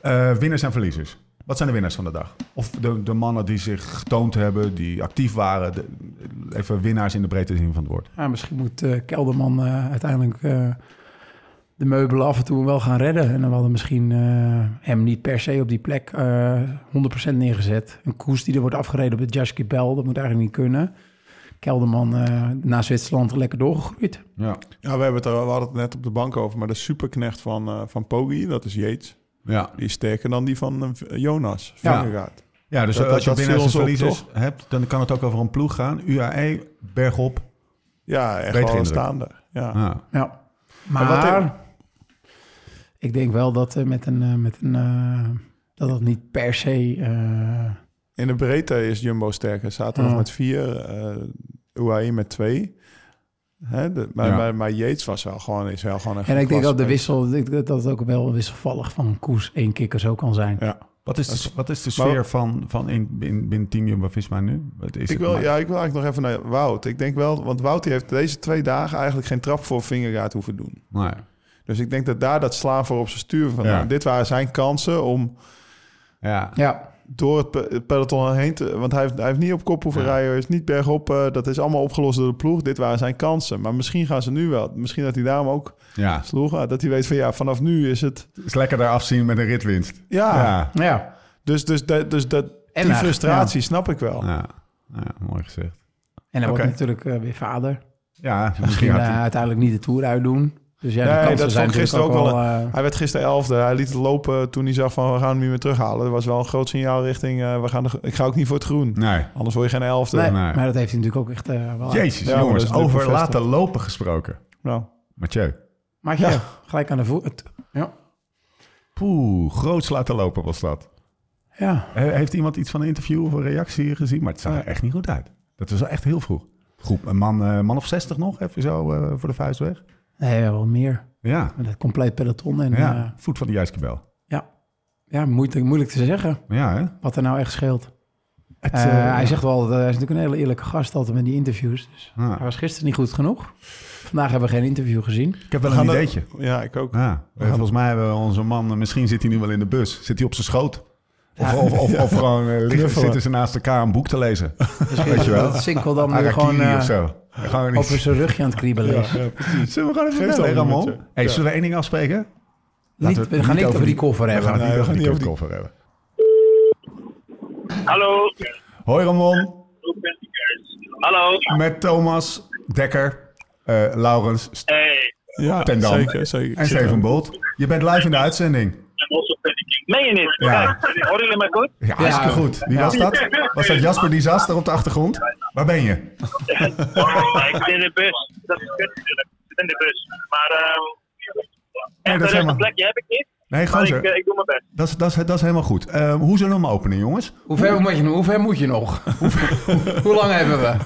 Speaker 6: Eh, winnaars en verliezers. Wat zijn de winnaars van de dag? Of de, de mannen die zich getoond hebben, die actief waren. De- even winnaars in de breedte zin van het woord.
Speaker 3: Ja, misschien moet eh, Kelderman eh, uiteindelijk eh, de meubelen af en toe wel gaan redden. En dan hadden we misschien eh, hem niet per se op die plek eh 100% neergezet. Een koers die er wordt afgereden op de Jasky Bell, dat moet eigenlijk niet kunnen. Kelderman eh na Zwitserland lekker doorgegroeid.
Speaker 6: Ja.
Speaker 4: Ja, we, hebben het er, we hadden het net op de bank over, maar de superknecht van, eh van Poggi, dat is Yates.
Speaker 6: Ja.
Speaker 4: Die is sterker dan die van eh, Jonas.
Speaker 6: Ja.
Speaker 4: Ja.
Speaker 6: ja, dus
Speaker 4: Dat- dat-
Speaker 6: als je
Speaker 4: dat
Speaker 6: winnaars en
Speaker 4: viel ons op,
Speaker 6: verliezers hebt, dan kan het ook over een ploeg gaan. E, UAE, bergop.
Speaker 4: ja, echt
Speaker 6: Beter
Speaker 4: wel een
Speaker 6: indruk.
Speaker 4: staander. Ja.
Speaker 6: Ja.
Speaker 3: Ja, maar,
Speaker 4: Maar wat denk-
Speaker 3: ik denk wel dat eh, met een, eh, met een eh, dat dat niet per se eh,
Speaker 4: In de breedte is Jumbo sterker. Zaterdag
Speaker 3: Ja.
Speaker 4: met vier, eh UAE met twee. Hè, de- maar,
Speaker 6: Ja.
Speaker 4: maar, maar Yates was wel gewoon, is wel gewoon echt
Speaker 3: en
Speaker 4: een
Speaker 3: ik denk dat de
Speaker 4: klassebest.
Speaker 3: wissel ik denk dat het ook wel wisselvallig van koers één kikker zo kan zijn.
Speaker 4: Ja.
Speaker 6: Wat is de, wat is de sfeer van, van in, in, binnen Team Jumbo-Visma nu? Wat is
Speaker 4: Ik
Speaker 6: het nou?
Speaker 4: wil,
Speaker 6: maar-
Speaker 4: ja, ik wil eigenlijk nog even naar Wout. Ik denk wel, want Wout die heeft deze twee dagen eigenlijk geen trap voor vingergaard hoeven doen.
Speaker 6: Nou,
Speaker 4: Dus ik denk dat daar dat slaven op zijn stuur van.
Speaker 6: Ja.
Speaker 4: nou, dit waren zijn kansen om.
Speaker 6: ja.
Speaker 3: Ja,
Speaker 4: door het pe- het peloton heen. Te, want hij heeft, hij heeft niet op kop hoeven rijden. Hij is niet bergop. eh, dat is allemaal opgelost door de ploeg. Dit waren zijn kansen. Maar misschien gaan ze nu wel. Misschien dat hij daarom ook
Speaker 1: Ja,
Speaker 4: sloeg. Ah, Dat hij weet van ja, vanaf nu is het...
Speaker 1: het is lekker daar afzien met een ritwinst.
Speaker 6: Ah.
Speaker 4: Ja,
Speaker 1: Ja.
Speaker 3: Ja,
Speaker 4: dus, dus, dat- dus dat,
Speaker 3: En
Speaker 4: die
Speaker 3: hij-
Speaker 4: frustratie snap ik wel.
Speaker 1: Ja. ja, mooi gezegd.
Speaker 3: en hij wordt
Speaker 4: Oké.
Speaker 3: natuurlijk eh, weer vader.
Speaker 1: Ja, misschien
Speaker 3: Misschien
Speaker 1: had
Speaker 3: eh,
Speaker 1: hij...
Speaker 3: uiteindelijk niet de Tour uitdoen. Dus ja, de
Speaker 4: Nee,
Speaker 3: kansen
Speaker 4: dat
Speaker 3: zijn
Speaker 4: vond ik gisteren
Speaker 3: natuurlijk
Speaker 4: ook wel
Speaker 3: wel... eh,
Speaker 4: Hij werd gisteren elfde. Hij liet het lopen toen hij zag van we gaan hem niet meer terughalen. Dat was wel een groot signaal richting eh, we gaan de, ik ga ook niet voor het groen.
Speaker 1: Nee.
Speaker 4: Anders word je geen elfde.
Speaker 3: nee,
Speaker 1: eh, nee.
Speaker 3: maar dat heeft hij natuurlijk ook echt eh, wel...
Speaker 1: Jezus,
Speaker 4: Ja, maar
Speaker 1: jongens,
Speaker 4: dat is nu
Speaker 1: over
Speaker 4: bevestigd.
Speaker 1: laten lopen gesproken.
Speaker 4: Nou,
Speaker 1: Mathieu.
Speaker 3: Maar ja, gelijk aan de voet. Ja.
Speaker 1: Poeh, groots laten lopen was dat.
Speaker 3: ja.
Speaker 1: He- Heeft iemand iets van een interview of een reactie gezien? Maar het zag er echt niet goed uit. Dat was wel echt heel vroeg. Groep, een man, eh, man of 60 nog, even zo eh, voor de vuist weg.
Speaker 3: Nee, wel meer.
Speaker 1: Ja,
Speaker 3: Met het compleet peloton. En,
Speaker 1: ja.
Speaker 3: ja.
Speaker 1: voet van de juiste bel.
Speaker 3: ja. ja moeilijk, moeilijk te zeggen
Speaker 1: Ja, hè?
Speaker 3: wat er nou echt scheelt.
Speaker 1: Het,
Speaker 3: Eh,
Speaker 1: eh,
Speaker 3: hij zegt wel, dat hij is natuurlijk een hele eerlijke gast altijd met die interviews. Dus
Speaker 1: ja.
Speaker 3: hij was gisteren niet goed genoeg. Vandaag hebben we geen interview gezien.
Speaker 1: Ik heb wel
Speaker 4: we
Speaker 1: een
Speaker 4: gaan
Speaker 1: ideetje.
Speaker 4: dat- Ja, ik ook.
Speaker 1: Ja, eh, volgens mij hebben we onze man, eh, misschien zit hij nu wel in de bus. Zit hij op zijn schoot? Of,
Speaker 3: Ja.
Speaker 1: of, of, of gewoon eh, liggen,
Speaker 4: Knuffelen.
Speaker 1: zitten ze naast elkaar een boek te lezen.
Speaker 3: Misschien
Speaker 1: Weet je wel.
Speaker 3: dat Sinkel dan nu
Speaker 1: Harakiri
Speaker 3: gewoon eh,
Speaker 1: of zo. Gewoon
Speaker 3: over
Speaker 1: iets.
Speaker 3: zijn rugje aan het kriebelen is.
Speaker 1: Zullen we gewoon even
Speaker 4: Geef
Speaker 1: bellen,
Speaker 4: het al een
Speaker 1: Ramon?
Speaker 4: minuutje.
Speaker 1: Hey,
Speaker 4: Ja.
Speaker 1: zullen we één ding afspreken?
Speaker 3: Niet, we gaan niet over die koffer hebben.
Speaker 1: We gaan
Speaker 4: Nee,
Speaker 1: het
Speaker 4: we gaan
Speaker 1: niet
Speaker 4: niet
Speaker 1: over die
Speaker 4: over die-
Speaker 1: koffer hebben.
Speaker 7: Hallo.
Speaker 1: Hoi Ramon,
Speaker 7: Hallo.
Speaker 1: met Thomas, Dekker, eh, Laurens St-
Speaker 7: Hey.
Speaker 4: Ja,
Speaker 1: Ten Dam.
Speaker 4: zeker, zeker.
Speaker 1: en Steven Bolt. Je been live in de uitzending.
Speaker 7: Meen je niet?
Speaker 1: Ja.
Speaker 7: Kijk, horen jullie mij goed?
Speaker 1: Ja, hartstikke
Speaker 3: Ja.
Speaker 1: goed. Wie was dat? Was dat Jasper Disaster op de achtergrond? Waar ben je?
Speaker 7: Ja, ik zit in de bus. Dat is kut natuurlijk. Ik zit in de bus. Maar ehm echt
Speaker 1: dat is
Speaker 7: een
Speaker 1: helemaal-
Speaker 7: rustig plekje heb ik niet.
Speaker 1: Nee,
Speaker 7: Maar ik,
Speaker 1: gozer.
Speaker 7: eh, ik doe mijn best.
Speaker 1: Dat is, dat, is, dat is helemaal goed. Eh, hoe zullen we hem openen, jongens?
Speaker 3: Hoe ver moet je, nog- hoe ver moet je nog? Hoe lang hebben we?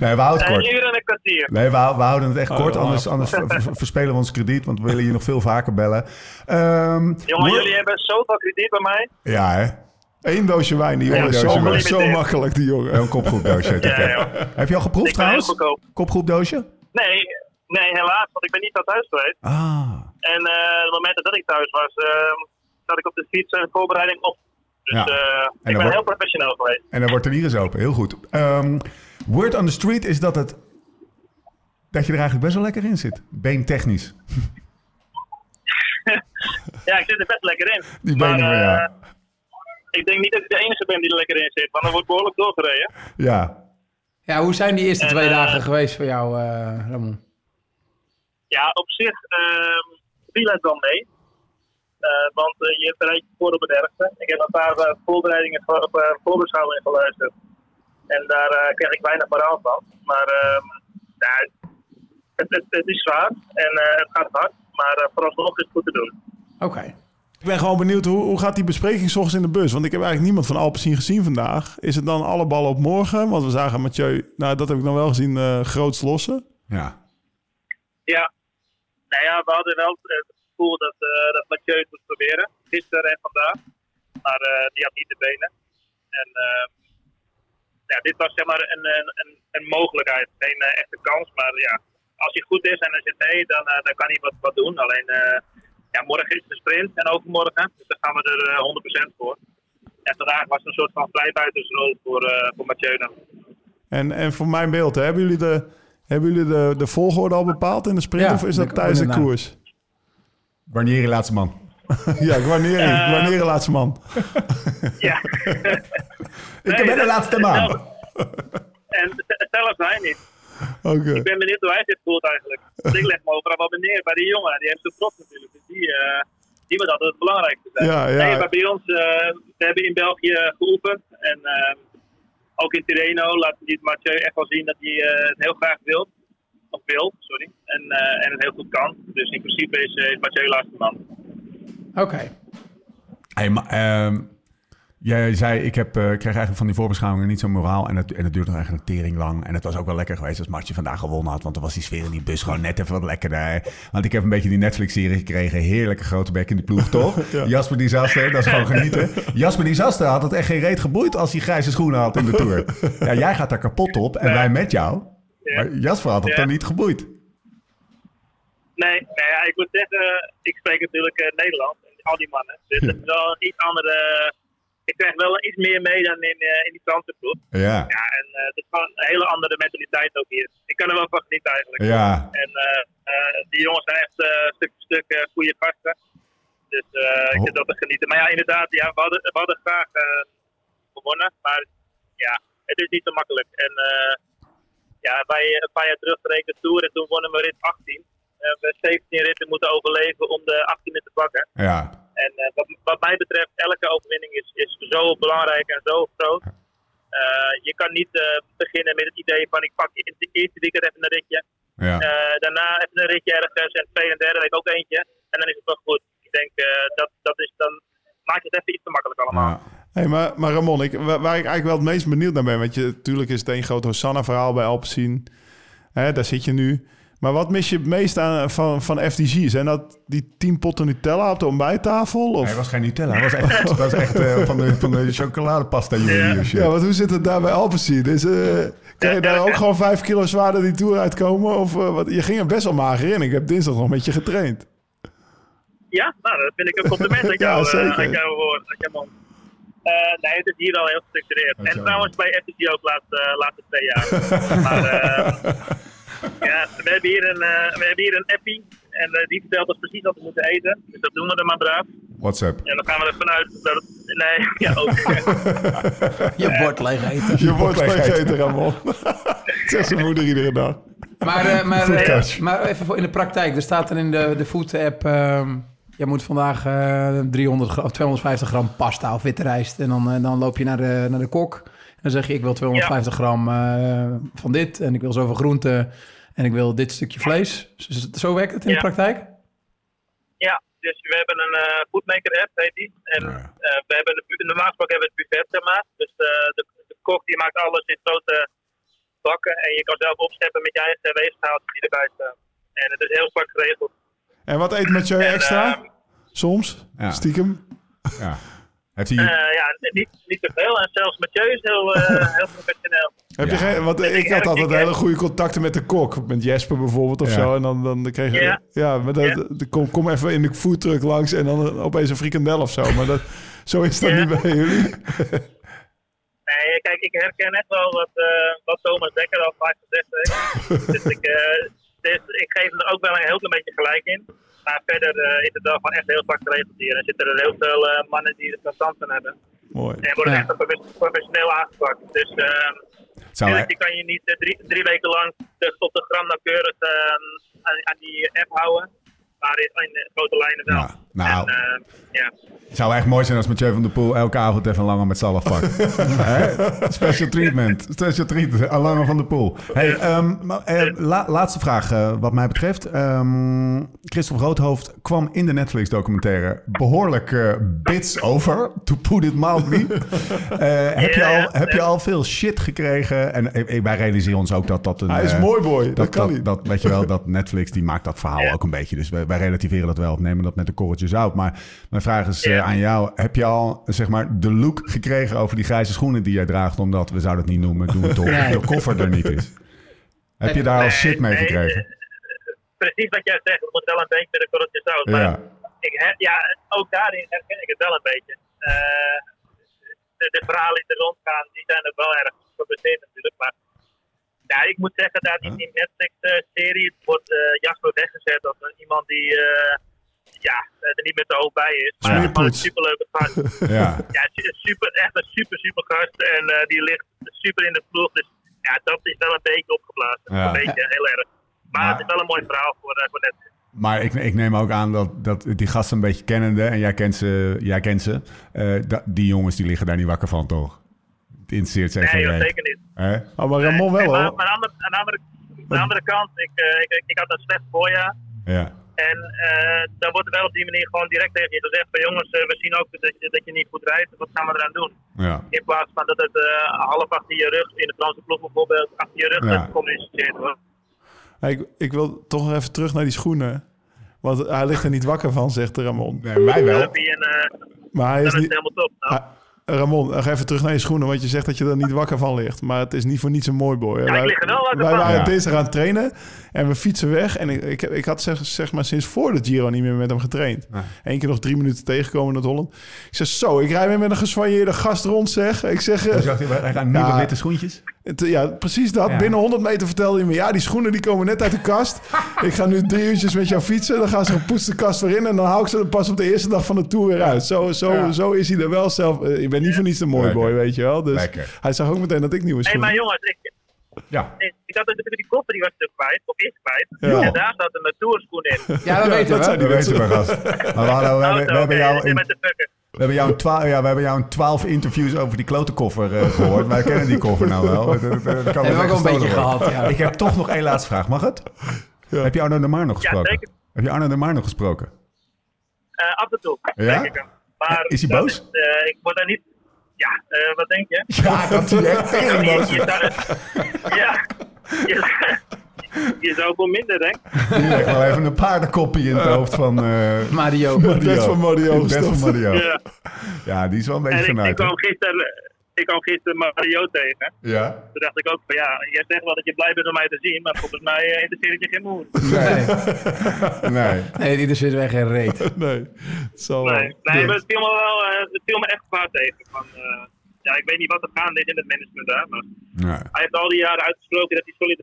Speaker 1: Nee, we houden het
Speaker 7: Een
Speaker 1: kort.
Speaker 7: uur en Eh, een kwartier.
Speaker 1: Nee, we, hou- we houden het echt
Speaker 6: Oh,
Speaker 1: kort,
Speaker 4: ja,
Speaker 1: anders, anders ver- ver- verspelen we ons krediet, want we willen je nog veel vaker bellen. Ehm,
Speaker 7: Jongen, jullie hebben zoveel krediet bij mij.
Speaker 1: ja, hè?
Speaker 4: Eén doosje wijn, die jongen.
Speaker 1: Eén
Speaker 4: is
Speaker 1: doosje
Speaker 4: zo,
Speaker 1: wijn.
Speaker 4: zo makkelijk, die jongen.
Speaker 1: Een kopgroepdoosje.
Speaker 7: Ja,
Speaker 1: Heb-
Speaker 7: Eh, joh.
Speaker 1: Heb je al geproefd
Speaker 7: Ik ben heel
Speaker 1: trouwens?
Speaker 7: goedkoop.
Speaker 1: Kopgroepdoosje?
Speaker 7: Nee, nee, helaas, want ik ben niet aan thuis geweest.
Speaker 1: Ah,
Speaker 7: En eh het moment dat ik thuis was, ehm zat ik op de fiets en voorbereiding op. Dus
Speaker 1: Ja.
Speaker 7: eh,
Speaker 1: dan
Speaker 7: ik ben
Speaker 1: wordt-
Speaker 7: heel professioneel geweest.
Speaker 1: en dan wordt er hier eens open. Heel goed. Ehm, word on the street is dat het... Dat je er eigenlijk best wel lekker in zit. Beentechnisch.
Speaker 7: Ja, ik zit er best lekker in.
Speaker 1: Die benen
Speaker 7: maar,
Speaker 1: van jou.
Speaker 7: eh, Ik denk niet dat ik de enige ben die er lekker in zit, want dan wordt behoorlijk doorgereden.
Speaker 1: Ja.
Speaker 3: Ja, hoe zijn die eerste
Speaker 7: En,
Speaker 3: twee
Speaker 7: eh,
Speaker 3: dagen geweest voor jou, eh, Ramon?
Speaker 7: Ja, op zich ehm, viel het wel mee. Eh, want eh, je rijdt voor op het ergste. Ik heb een paar eh, voorbereidingen voor- op eh, voorbeschouwingen geluisterd. En daar eh, kreeg ik weinig verhaal van. Maar ehm, ja, het, het, het is zwaar en eh, het gaat hard. Maar eh, vooralsnog is het goed te doen.
Speaker 3: Oké.
Speaker 4: Ik ben gewoon benieuwd, hoe, hoe gaat die bespreking 's ochtends in de bus? Want ik heb eigenlijk niemand van Alpecin gezien vandaag. Is het dan alle ballen op morgen? Want we zagen Mathieu, nou dat heb ik dan wel gezien, eh groots lossen.
Speaker 1: Ja.
Speaker 7: Ja. Nou ja, we hadden wel eh, het gevoel dat, eh dat Mathieu het moest proberen. Gisteren en vandaag. Maar eh, die had niet de benen. En eh, ja, dit was zeg maar een, een, een, een mogelijkheid. Geen eh, echte kans. Maar ja, als hij goed is en hij zit mee, dan, eh, dan kan hij wat, wat doen. Alleen eh, ja, morgen is de sprint en overmorgen. Dus daar gaan we er eh, 100% voor. En vandaag was een soort van vrijbuitersrol voor, eh, voor Mathieu dan.
Speaker 4: En, en voor mijn beeld, hè, hebben jullie, de, hebben jullie de, de volgorde al bepaald in de sprint?
Speaker 3: Ja,
Speaker 4: of is
Speaker 3: ik-
Speaker 4: dat tijdens de
Speaker 3: inderdaad.
Speaker 4: koers?
Speaker 1: Barnieri, laatste man.
Speaker 4: Ja, wanneer,
Speaker 7: Eh,
Speaker 4: wanneer laatste man?
Speaker 7: Ja.
Speaker 1: Ik ben de laatste man.
Speaker 7: En z- zelfs hij niet.
Speaker 4: Oké.
Speaker 7: Ik ben benieuwd hoe hij dit voelt eigenlijk. Want ik leg me overal wel meneer bij die jongen. Die heeft zijn trots natuurlijk. Dus die, eh, die moet altijd het belangrijkste zijn.
Speaker 4: Ja, ja.
Speaker 7: Nee, maar bij ons, eh, we hebben in België geoefend. En eh, ook in Tirreno laat die Mathieu echt wel zien dat hij eh, het heel graag wil. Of wil, sorry. En, eh, en het heel goed kan. Dus in principe is, eh, is Mathieu laatste man.
Speaker 3: Oké.
Speaker 1: Hey, maar, ehm, jij zei, ik heb, eh, ik kreeg eigenlijk van die voorbeschouwingen niet zo'n moraal. En het, en het duurde eigenlijk een tering lang. En het was ook wel lekker geweest als Martje vandaag gewonnen had. Want dan was die sfeer in die bus gewoon net even wat lekkerder. Want ik heb een beetje die Netflix-serie gekregen. Heerlijke grote bek in de ploeg, toch? Jasper Disaster, dat is gewoon genieten. Jasper Disaster had het echt geen reet geboeid als hij grijze schoenen had in de Tour. Ja, jij gaat daar kapot op en wij met jou. Maar Jasper had het
Speaker 7: Ja.
Speaker 1: dan niet geboeid.
Speaker 7: Nee, nou ja, ik moet zeggen, ik spreek natuurlijk eh, Nederlands en al die mannen. Dus het is wel een iets andere ik krijg wel iets meer mee dan in, eh, in die Franse ploeg.
Speaker 6: Ja.
Speaker 7: Ja, en eh, het is gewoon een hele andere mentaliteit ook hier. Ik kan er wel van genieten eigenlijk.
Speaker 6: Ja.
Speaker 7: En eh, eh, die jongens zijn echt eh, stuk voor stuk eh, goede gasten. Dus eh, ik
Speaker 6: Oh.
Speaker 7: heb dat te genieten. Maar ja, inderdaad, ja, we, hadden, we hadden graag eh, gewonnen. Maar ja, het is niet zo makkelijk. En eh, ja, wij eh, een paar jaar terug reden de Tour en toen wonnen we rit 18. En we 17 ritten moeten overleven om de 18e te pakken.
Speaker 6: Ja.
Speaker 7: En eh, wat, wat mij betreft, elke overwinning is, is zo belangrijk en zo groot. Eh, je kan niet eh, beginnen met het idee van ik pak in de eerste weekend even een ritje.
Speaker 6: Ja.
Speaker 7: Eh, daarna even een ritje ergens en tweede en derde week ook eentje. En dan is het wel goed. Ik denk, eh, dat, dat is dan maak je het even iets te makkelijk allemaal.
Speaker 6: Ja.
Speaker 4: Hey, maar, maar Ramon, ik, waar, waar ik eigenlijk wel het meest benieuwd naar ben... want je, natuurlijk is het een groot Hosanna-verhaal bij Alpecin. Hè, daar zit je nu. Maar wat mis je het meest aan, van, van FDG? Zijn dat die tien potten Nutella op de ontbijttafel? Of?
Speaker 6: Hij was geen Nutella, hij was echt, dat was echt eh, van, de, van de chocoladepasta jullie shit.
Speaker 4: Ja, want hoe zit het daar bij Alpecin? Is, eh, kan je daar ook gewoon vijf kilo zwaarder die tour uitkomen? Of, eh, wat? Je ging er best wel mager in. Ik heb dinsdag nog met je getraind.
Speaker 7: Ja, nou, dat vind ik een compliment aan
Speaker 4: Ja,
Speaker 7: jou, eh,
Speaker 4: zeker.
Speaker 7: aan jouw woord, aan jouw man. Eh, nee, het is hier al heel gestructureerd.
Speaker 6: Dankjewel.
Speaker 7: En trouwens bij FTG ook de laatste, laatste twee jaar. maar eh, ja, we hebben hier een, eh, we hebben hier een appie. En eh, die vertelt ons precies wat we moeten eten. Dus dat doen we er maar braaf.
Speaker 6: WhatsApp.
Speaker 7: En dan gaan we ervan uit dat het... Nee, ja, ook.
Speaker 3: Je bord leeg eten.
Speaker 4: Je wordt
Speaker 6: Lekker
Speaker 4: gegeten, Ramon. Zegt zijn moeder iedere dag.
Speaker 3: Maar, eh, maar,
Speaker 6: Food
Speaker 3: eh,
Speaker 6: coach.
Speaker 3: maar even voor in de praktijk. Er staat er in de, de food-app... ehm, je moet vandaag eh, 300 gram, 250 gram pasta of witte rijst. En dan, eh, dan loop je naar de, naar de kok. En dan zeg je, ik wil 250 gram eh, van dit. En ik wil zoveel groente. En ik wil dit stukje vlees. Dus zo werkt het in
Speaker 7: Ja.
Speaker 3: de praktijk?
Speaker 7: Ja, dus we hebben een eh foodmaker app, heet die. En
Speaker 6: Ja.
Speaker 7: eh, we hebben een, bu- normaal gesproken hebben we het buffet gemaakt. Dus eh, de, de kok die maakt alles in grote bakken. En je kan zelf opscheppen met je eigen weegschaaltjes die erbij staan. En het is heel strak geregeld.
Speaker 4: En wat eet Mathieu
Speaker 7: En,
Speaker 4: extra?
Speaker 7: eh,
Speaker 4: Soms,
Speaker 6: Ja.
Speaker 4: stiekem.
Speaker 6: Ja. Heeft hij...
Speaker 7: Eh, ja, niet, niet te veel. En zelfs Mathieu is heel, eh, heel professioneel.
Speaker 4: Heb
Speaker 6: Ja.
Speaker 4: je geen, want ik had
Speaker 7: ik-
Speaker 4: altijd
Speaker 7: ik-
Speaker 4: hele goede contacten met de kok. Met Jesper bijvoorbeeld of
Speaker 6: Ja.
Speaker 4: zo. En dan, dan kreeg je... Ja,
Speaker 7: Ja.
Speaker 4: maar dat,
Speaker 7: Ja.
Speaker 4: de- kom, kom even in de foodtruck langs en dan eh, opeens een frikandel of zo. Maar dat, zo is dat
Speaker 7: Ja.
Speaker 4: niet bij jullie.
Speaker 7: Nee, kijk, ik herken net wel wat, eh, wat Thomas Dekker al vaak gezegd heeft. dus, ik, eh, dus ik geef hem er ook wel een heel klein beetje gelijk in. Maar verder eh, is het wel gewoon echt heel vaak geregeld hier. Er zitten er heel veel eh, mannen die er verstand van hebben.
Speaker 4: Mooi.
Speaker 7: En worden
Speaker 3: Ja.
Speaker 7: echt profes- professioneel aangepakt. Dus eh,
Speaker 6: het zou,
Speaker 7: natuurlijk, je kan je niet eh, drie, drie weken lang de, tot de gram nauwkeurig eh, aan, aan die app houden. Maar in, in grote lijnen wel.
Speaker 6: Ja, nou.
Speaker 7: En, eh, ja.
Speaker 6: het zou echt mooi zijn als Mathieu van der Poel elke avond even langer met Salah pakt. Hè? Special treatment. Special treatment. Alanger van der Poel. Hey, ehm, maar, eh, la- laatste vraag eh, wat mij betreft. Ehm Christophe Roodhoofd kwam in de Netflix documentaire behoorlijk eh, bits over. To put it mildly. Eh, heb, je
Speaker 7: Ja,
Speaker 6: al,
Speaker 7: ja.
Speaker 6: heb je al veel shit gekregen? En eh, wij realiseren ons ook dat dat een...
Speaker 4: Hij is
Speaker 6: eh,
Speaker 4: mooi boy. Dat,
Speaker 6: dat,
Speaker 4: kan
Speaker 6: dat,
Speaker 4: niet.
Speaker 6: dat- weet je wel, dat Netflix die maakt dat verhaal ook een beetje. Dus wij, wij relativeren dat wel of nemen dat met de korreltjes uit. Maar mijn vraag is eh,
Speaker 7: Ja.
Speaker 6: aan jou: heb je al zeg maar de look gekregen over die grijze schoenen die jij draagt? Omdat we zouden het niet noemen, doen we toch?
Speaker 3: Nee.
Speaker 6: De koffer er niet is. Heb je daar al shit mee
Speaker 7: nee, eh,
Speaker 6: gekregen?
Speaker 7: precies wat jij zegt, het moet wel een beetje met de korreltjes zout.
Speaker 6: Ja.
Speaker 7: Maar ik her- ja, ook daarin herken ik het wel een beetje. Eh, de, de verhalen die er rondgaan, die zijn ook wel erg gebaseerd natuurlijk. Maar ja, ik moet zeggen, daar in die Netflix-serie wordt eh, Jasper weggezet als een- iemand die eh, ja, er niet met de hoofd bij is. Maar, maar een
Speaker 4: Smeerpoets.
Speaker 7: superleuke gast.
Speaker 6: Ja,
Speaker 7: Ja, het is een super, echt een super, super gast. En eh, die ligt super in de ploeg. Dus ja, dat is wel een beetje opgeblazen.
Speaker 6: Ja.
Speaker 7: Een beetje, heel erg. Maar,
Speaker 6: Maar-
Speaker 7: het is wel een mooi verhaal voor, eh, voor net.
Speaker 6: maar ik, ik neem ook aan dat, dat die gasten een beetje kennende, en jij kent ze, jij kent ze eh, dat- die jongens die liggen daar niet wakker van, toch? Het interesseert ze echt
Speaker 7: Nee,
Speaker 6: geen
Speaker 7: joh,
Speaker 6: reet.
Speaker 7: zeker niet.
Speaker 6: Hè?
Speaker 4: Oh, maar Ramon
Speaker 7: Nee,
Speaker 4: wel
Speaker 7: maar,
Speaker 4: hoor.
Speaker 7: maar aan, de, aan, de andere, aan de andere kant, ik, eh, ik, ik had een slecht voorjaar.
Speaker 6: Ja.
Speaker 7: En eh, dan wordt er wel op die manier gewoon direct tegen je gezegd van jongens, eh, we zien ook dat je, dat je niet goed rijdt. Wat gaan we eraan doen?
Speaker 6: Ja.
Speaker 7: In plaats van dat het eh, half achter je rug, in de Franse ploeg bijvoorbeeld, achter je rug
Speaker 6: Ja.
Speaker 7: gecommuniceerd wordt.
Speaker 4: Hey, ik, ik wil toch nog even terug naar die schoenen. Want hij ligt er niet wakker van, zegt Ramon.
Speaker 6: Nee, wij wel.
Speaker 7: Dan heb je een, eh,
Speaker 4: Maar hij is Ah,
Speaker 7: dan is het
Speaker 4: niet...
Speaker 7: helemaal top. Nou,
Speaker 4: Hij, Ramon, nog even terug naar je schoenen, want je zegt dat je er niet wakker van ligt. Maar het is niet voor niets een mooi boy. hè.
Speaker 7: ik
Speaker 4: Wij-
Speaker 7: lig er wel wakker
Speaker 4: Wij
Speaker 7: van.
Speaker 4: waren
Speaker 6: Ja.
Speaker 4: deze aan het trainen en we fietsen weg. En ik, ik, heb- ik had zeg, zeg maar sinds voor de Giro niet meer met hem getraind. Eén keer nog drie minuten tegenkomen in het Holland. Ik zeg zo, ik rij weer met een geswanjeerde gast rond zeg. Ik zeg, eh,
Speaker 6: Hij zegt, Hij gaat nu
Speaker 4: Ja.
Speaker 6: met witte schoentjes.
Speaker 4: het, eh, ja, precies dat.
Speaker 6: Ja.
Speaker 4: Binnen 100 meter vertelde hij me... ja, die schoenen die komen net uit de kast. ik ga nu drie uurtjes met jou fietsen. Dan gaan ze gepoetst de kast weer in... en dan hou ik ze er pas op de eerste dag van de Tour weer uit. Zo, zo, zo is hij er wel zelf... eh, ik ben niet voor niets een mooi
Speaker 6: Lekker.
Speaker 4: boy, weet je wel. Dus
Speaker 6: Lekker.
Speaker 4: hij zag ook meteen dat ik nieuwe
Speaker 7: Nee,
Speaker 4: schoenen...
Speaker 7: maar jongens, ik,
Speaker 6: Ja.
Speaker 7: ik, ik had natuurlijk die koffer, die was er kwijt, of is kwijt.
Speaker 4: Ja.
Speaker 7: En daar zat een natuurschoen in.
Speaker 3: Ja, dat weten we.
Speaker 4: zijn
Speaker 6: Dat
Speaker 4: die
Speaker 6: Ah, weten we,
Speaker 4: mensen.
Speaker 6: gast. Maar we, hadden, we, hebben, we, hebben jou in,
Speaker 7: eh, Met de fucker.
Speaker 6: we, hebben jou in twa- ja, we hebben jou in twaalf interviews over die klote koffer eh, gehoord. Wij kennen die koffer nou wel. Dat, dat- dat kan wel
Speaker 3: we ook
Speaker 6: zeggen,
Speaker 3: een beetje
Speaker 6: gestolen
Speaker 3: gehad, ja.
Speaker 6: Ik heb toch nog één laatste vraag. Mag het? Heb je Arno de Maar nog
Speaker 7: Ja,
Speaker 6: gesproken?
Speaker 7: zeker.
Speaker 6: Heb je Arno de Maar nog gesproken?
Speaker 7: Eh, af en toe.
Speaker 6: Ja?
Speaker 7: denk ik hem. Maar
Speaker 6: Is hij
Speaker 7: dat
Speaker 6: boos?
Speaker 7: eh, ik word daar niet... Ja, eh, wat denk je?
Speaker 3: Ah,
Speaker 6: Ja, dat is echt
Speaker 7: Je-
Speaker 6: tering boos.
Speaker 7: je zou- Ja. Je, je zou ook wel minder, denk ik.
Speaker 6: Die legt wel even een paardenkoppie in het hoofd van... eh
Speaker 3: Mario.
Speaker 6: Mario.
Speaker 4: van Mario
Speaker 6: Het bed van
Speaker 4: gestopt.
Speaker 6: Mario.
Speaker 7: Ja.
Speaker 6: Ja, Oh, die is wel een beetje
Speaker 7: En ik, ik,
Speaker 6: vanuit.
Speaker 7: kwam gisteren, ik kwam gisteren Mario tegen.
Speaker 6: Ja.
Speaker 7: Toen dacht ik ook van ja, jij zegt wel dat je blij bent om mij te zien, maar volgens mij eh, interesseert het je geen moer.
Speaker 3: Nee,
Speaker 6: Nee.
Speaker 3: nee die er zit weer geen reet.
Speaker 4: Nee, het zal wel.
Speaker 7: Nee, nee maar het viel me wel eh, het viel me echt zwaar tegen. Van, eh, ja, ik weet niet wat er gaande is in het management daar, maar
Speaker 6: Nee.
Speaker 7: hij heeft al die jaren uitgesproken dat hij solide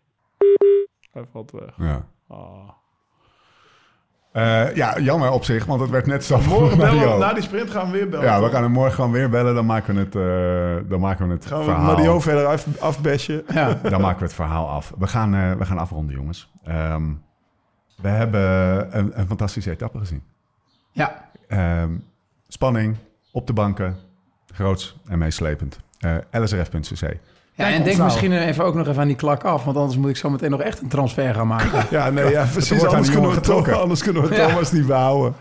Speaker 4: Hij valt weg.
Speaker 6: Ja. Ah. Eh, ja, jammer op zich, want het werd net zo
Speaker 4: Morgen bellen we-
Speaker 6: Mario.
Speaker 4: na die sprint gaan we weer bellen.
Speaker 6: Ja, we gaan hem morgen gewoon weer bellen. Dan maken we het, eh, dan maken we het
Speaker 4: Gaan we
Speaker 6: verhaal.
Speaker 4: Mario verder af, afbashen.
Speaker 3: Ja.
Speaker 6: Dan maken we het verhaal af. We gaan, eh, we gaan afronden, jongens. Ehm, we hebben een, een fantastische etappe gezien.
Speaker 3: Ja,
Speaker 6: Ehm, spanning op de banken, groots en meeslepend. Eh lsrf.cc.
Speaker 3: Ja, en denk misschien even ook nog even aan die klak af, want anders moet ik zo meteen nog echt een transfer gaan maken.
Speaker 4: Ja, nee, ja, precies.
Speaker 6: wordt aan
Speaker 4: Anders
Speaker 6: die
Speaker 4: kunnen, we
Speaker 6: jongen
Speaker 4: Thomas,
Speaker 6: getrokken.
Speaker 4: anders kunnen we
Speaker 3: Ja.
Speaker 4: Thomas niet behouden.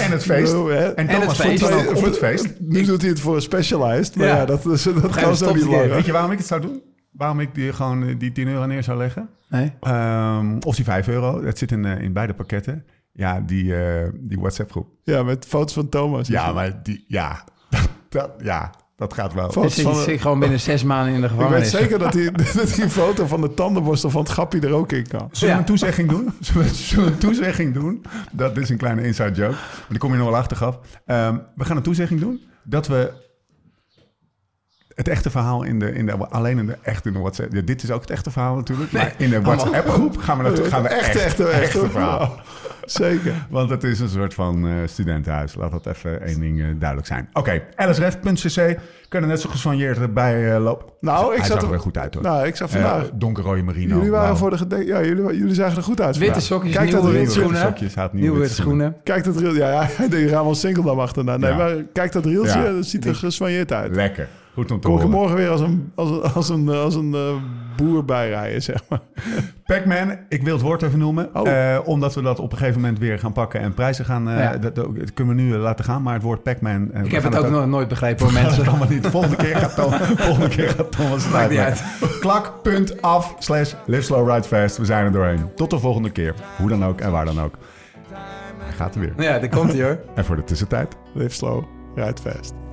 Speaker 6: En het feest.
Speaker 4: Zo, hè?
Speaker 6: En
Speaker 3: En
Speaker 6: Thomas
Speaker 3: het
Speaker 6: voelt
Speaker 3: feest.
Speaker 6: dan ook
Speaker 4: Nee,
Speaker 6: op het
Speaker 4: voor-
Speaker 6: feest.
Speaker 4: Nu doet hij het voor een specialized. Maar ja,
Speaker 3: Ja.
Speaker 4: dat, dat, dat kan
Speaker 3: gegeven
Speaker 4: zo
Speaker 3: stopt
Speaker 4: niet
Speaker 3: hij
Speaker 4: langer.
Speaker 6: Weet je waarom ik het zou doen? Waarom ik die gewoon eh, die 10 euro neer zou leggen?
Speaker 3: Nee?
Speaker 6: Ehm, of die 5 euro. Dat zit in, eh, in beide pakketten. Ja, die, eh, die WhatsApp groep.
Speaker 4: Ja, met foto's van Thomas.
Speaker 6: Ja, maar die... Ja, dat, ja, dat gaat wel.
Speaker 4: Van-
Speaker 3: Dan zit,
Speaker 4: van-
Speaker 3: zit ik gewoon binnen zes maanden in de
Speaker 4: Ik weet
Speaker 3: gevangenis.
Speaker 4: zeker dat hij, dat hij een foto van de tandenborstel van het grappie er ook in kan.
Speaker 6: Zullen we
Speaker 3: Ja.
Speaker 6: een toezegging doen? Zullen we, zullen we een toezegging doen? Dat is een kleine inside joke. Maar die kom je nog wel achter, gaf. Ehm, we gaan een toezegging doen dat we... Het echte verhaal in de, in de... Alleen in de, echt in de WhatsApp... Ja, dit is ook het echte verhaal natuurlijk. Maar in de WhatsApp-groep gaan we, naartoe- gaan we echt,
Speaker 4: Echt, echt, echt.
Speaker 6: echte verhaal.
Speaker 4: Ja, Zeker.
Speaker 6: Want het is een soort van eh, studentenhuis. Laat dat even één ding eh, duidelijk zijn. Oké, lsref.cc. Kunnen net zo geswanjeerd erbij eh lopen.
Speaker 4: Nou, ik
Speaker 6: Hij
Speaker 4: zat
Speaker 6: zag er
Speaker 4: er-
Speaker 6: weer goed uit hoor.
Speaker 4: Nou, ik zag vandaag-
Speaker 6: Eh, donkerrode merino.
Speaker 4: Jullie waren
Speaker 1: nou.
Speaker 6: blauw.
Speaker 4: voor de gede- Ja, jullie, jullie zagen er goed uit.
Speaker 3: Witte
Speaker 4: vandaag.
Speaker 3: sokjes,
Speaker 4: Kijk dat
Speaker 3: nieuwe
Speaker 6: witte
Speaker 3: witte
Speaker 6: sokjes.
Speaker 4: reeltje.
Speaker 3: schoenen.
Speaker 6: sokjes, hij had nieuwe
Speaker 3: Nieuwe
Speaker 6: witte
Speaker 3: witte schoenen.
Speaker 4: Kijk dat reeltje. Ja, hij deed Ramon Sinkeldam achterna. Nee,
Speaker 6: Ja.
Speaker 4: maar kijk dat reeltje.
Speaker 6: Ja.
Speaker 4: Dat ziet er geswanjeerd uit.
Speaker 6: Lekker. Goed om te
Speaker 4: Kom ik er
Speaker 6: horen.
Speaker 4: morgen weer als een, als een, als een, als een eh, boer bijrijden, zeg maar.
Speaker 6: Pac-Man, ik wil het woord even noemen.
Speaker 4: Oh.
Speaker 6: Eh, omdat we dat op een gegeven moment weer gaan pakken en prijzen gaan. eh,
Speaker 3: Ja.
Speaker 6: dat, dat- dat kunnen we nu eh, laten gaan. Maar het woord Pac-Man. eh, we
Speaker 3: Ik heb
Speaker 6: gaan
Speaker 3: het ook nog nooit begrepen hoor, mensen.
Speaker 6: Dat allemaal niet. Volgende keer gaat, Tom, volgende keer gaat Thomas het
Speaker 3: Maakt niet
Speaker 6: uitleggen. Klak.af slash live slow ride fast. We zijn er doorheen. Tot de volgende keer. Hoe dan ook en waar dan ook. Hij gaat er weer.
Speaker 3: Ja, daar komt hij hoor.
Speaker 6: En voor de tussentijd.
Speaker 4: Live slow, rijd fast.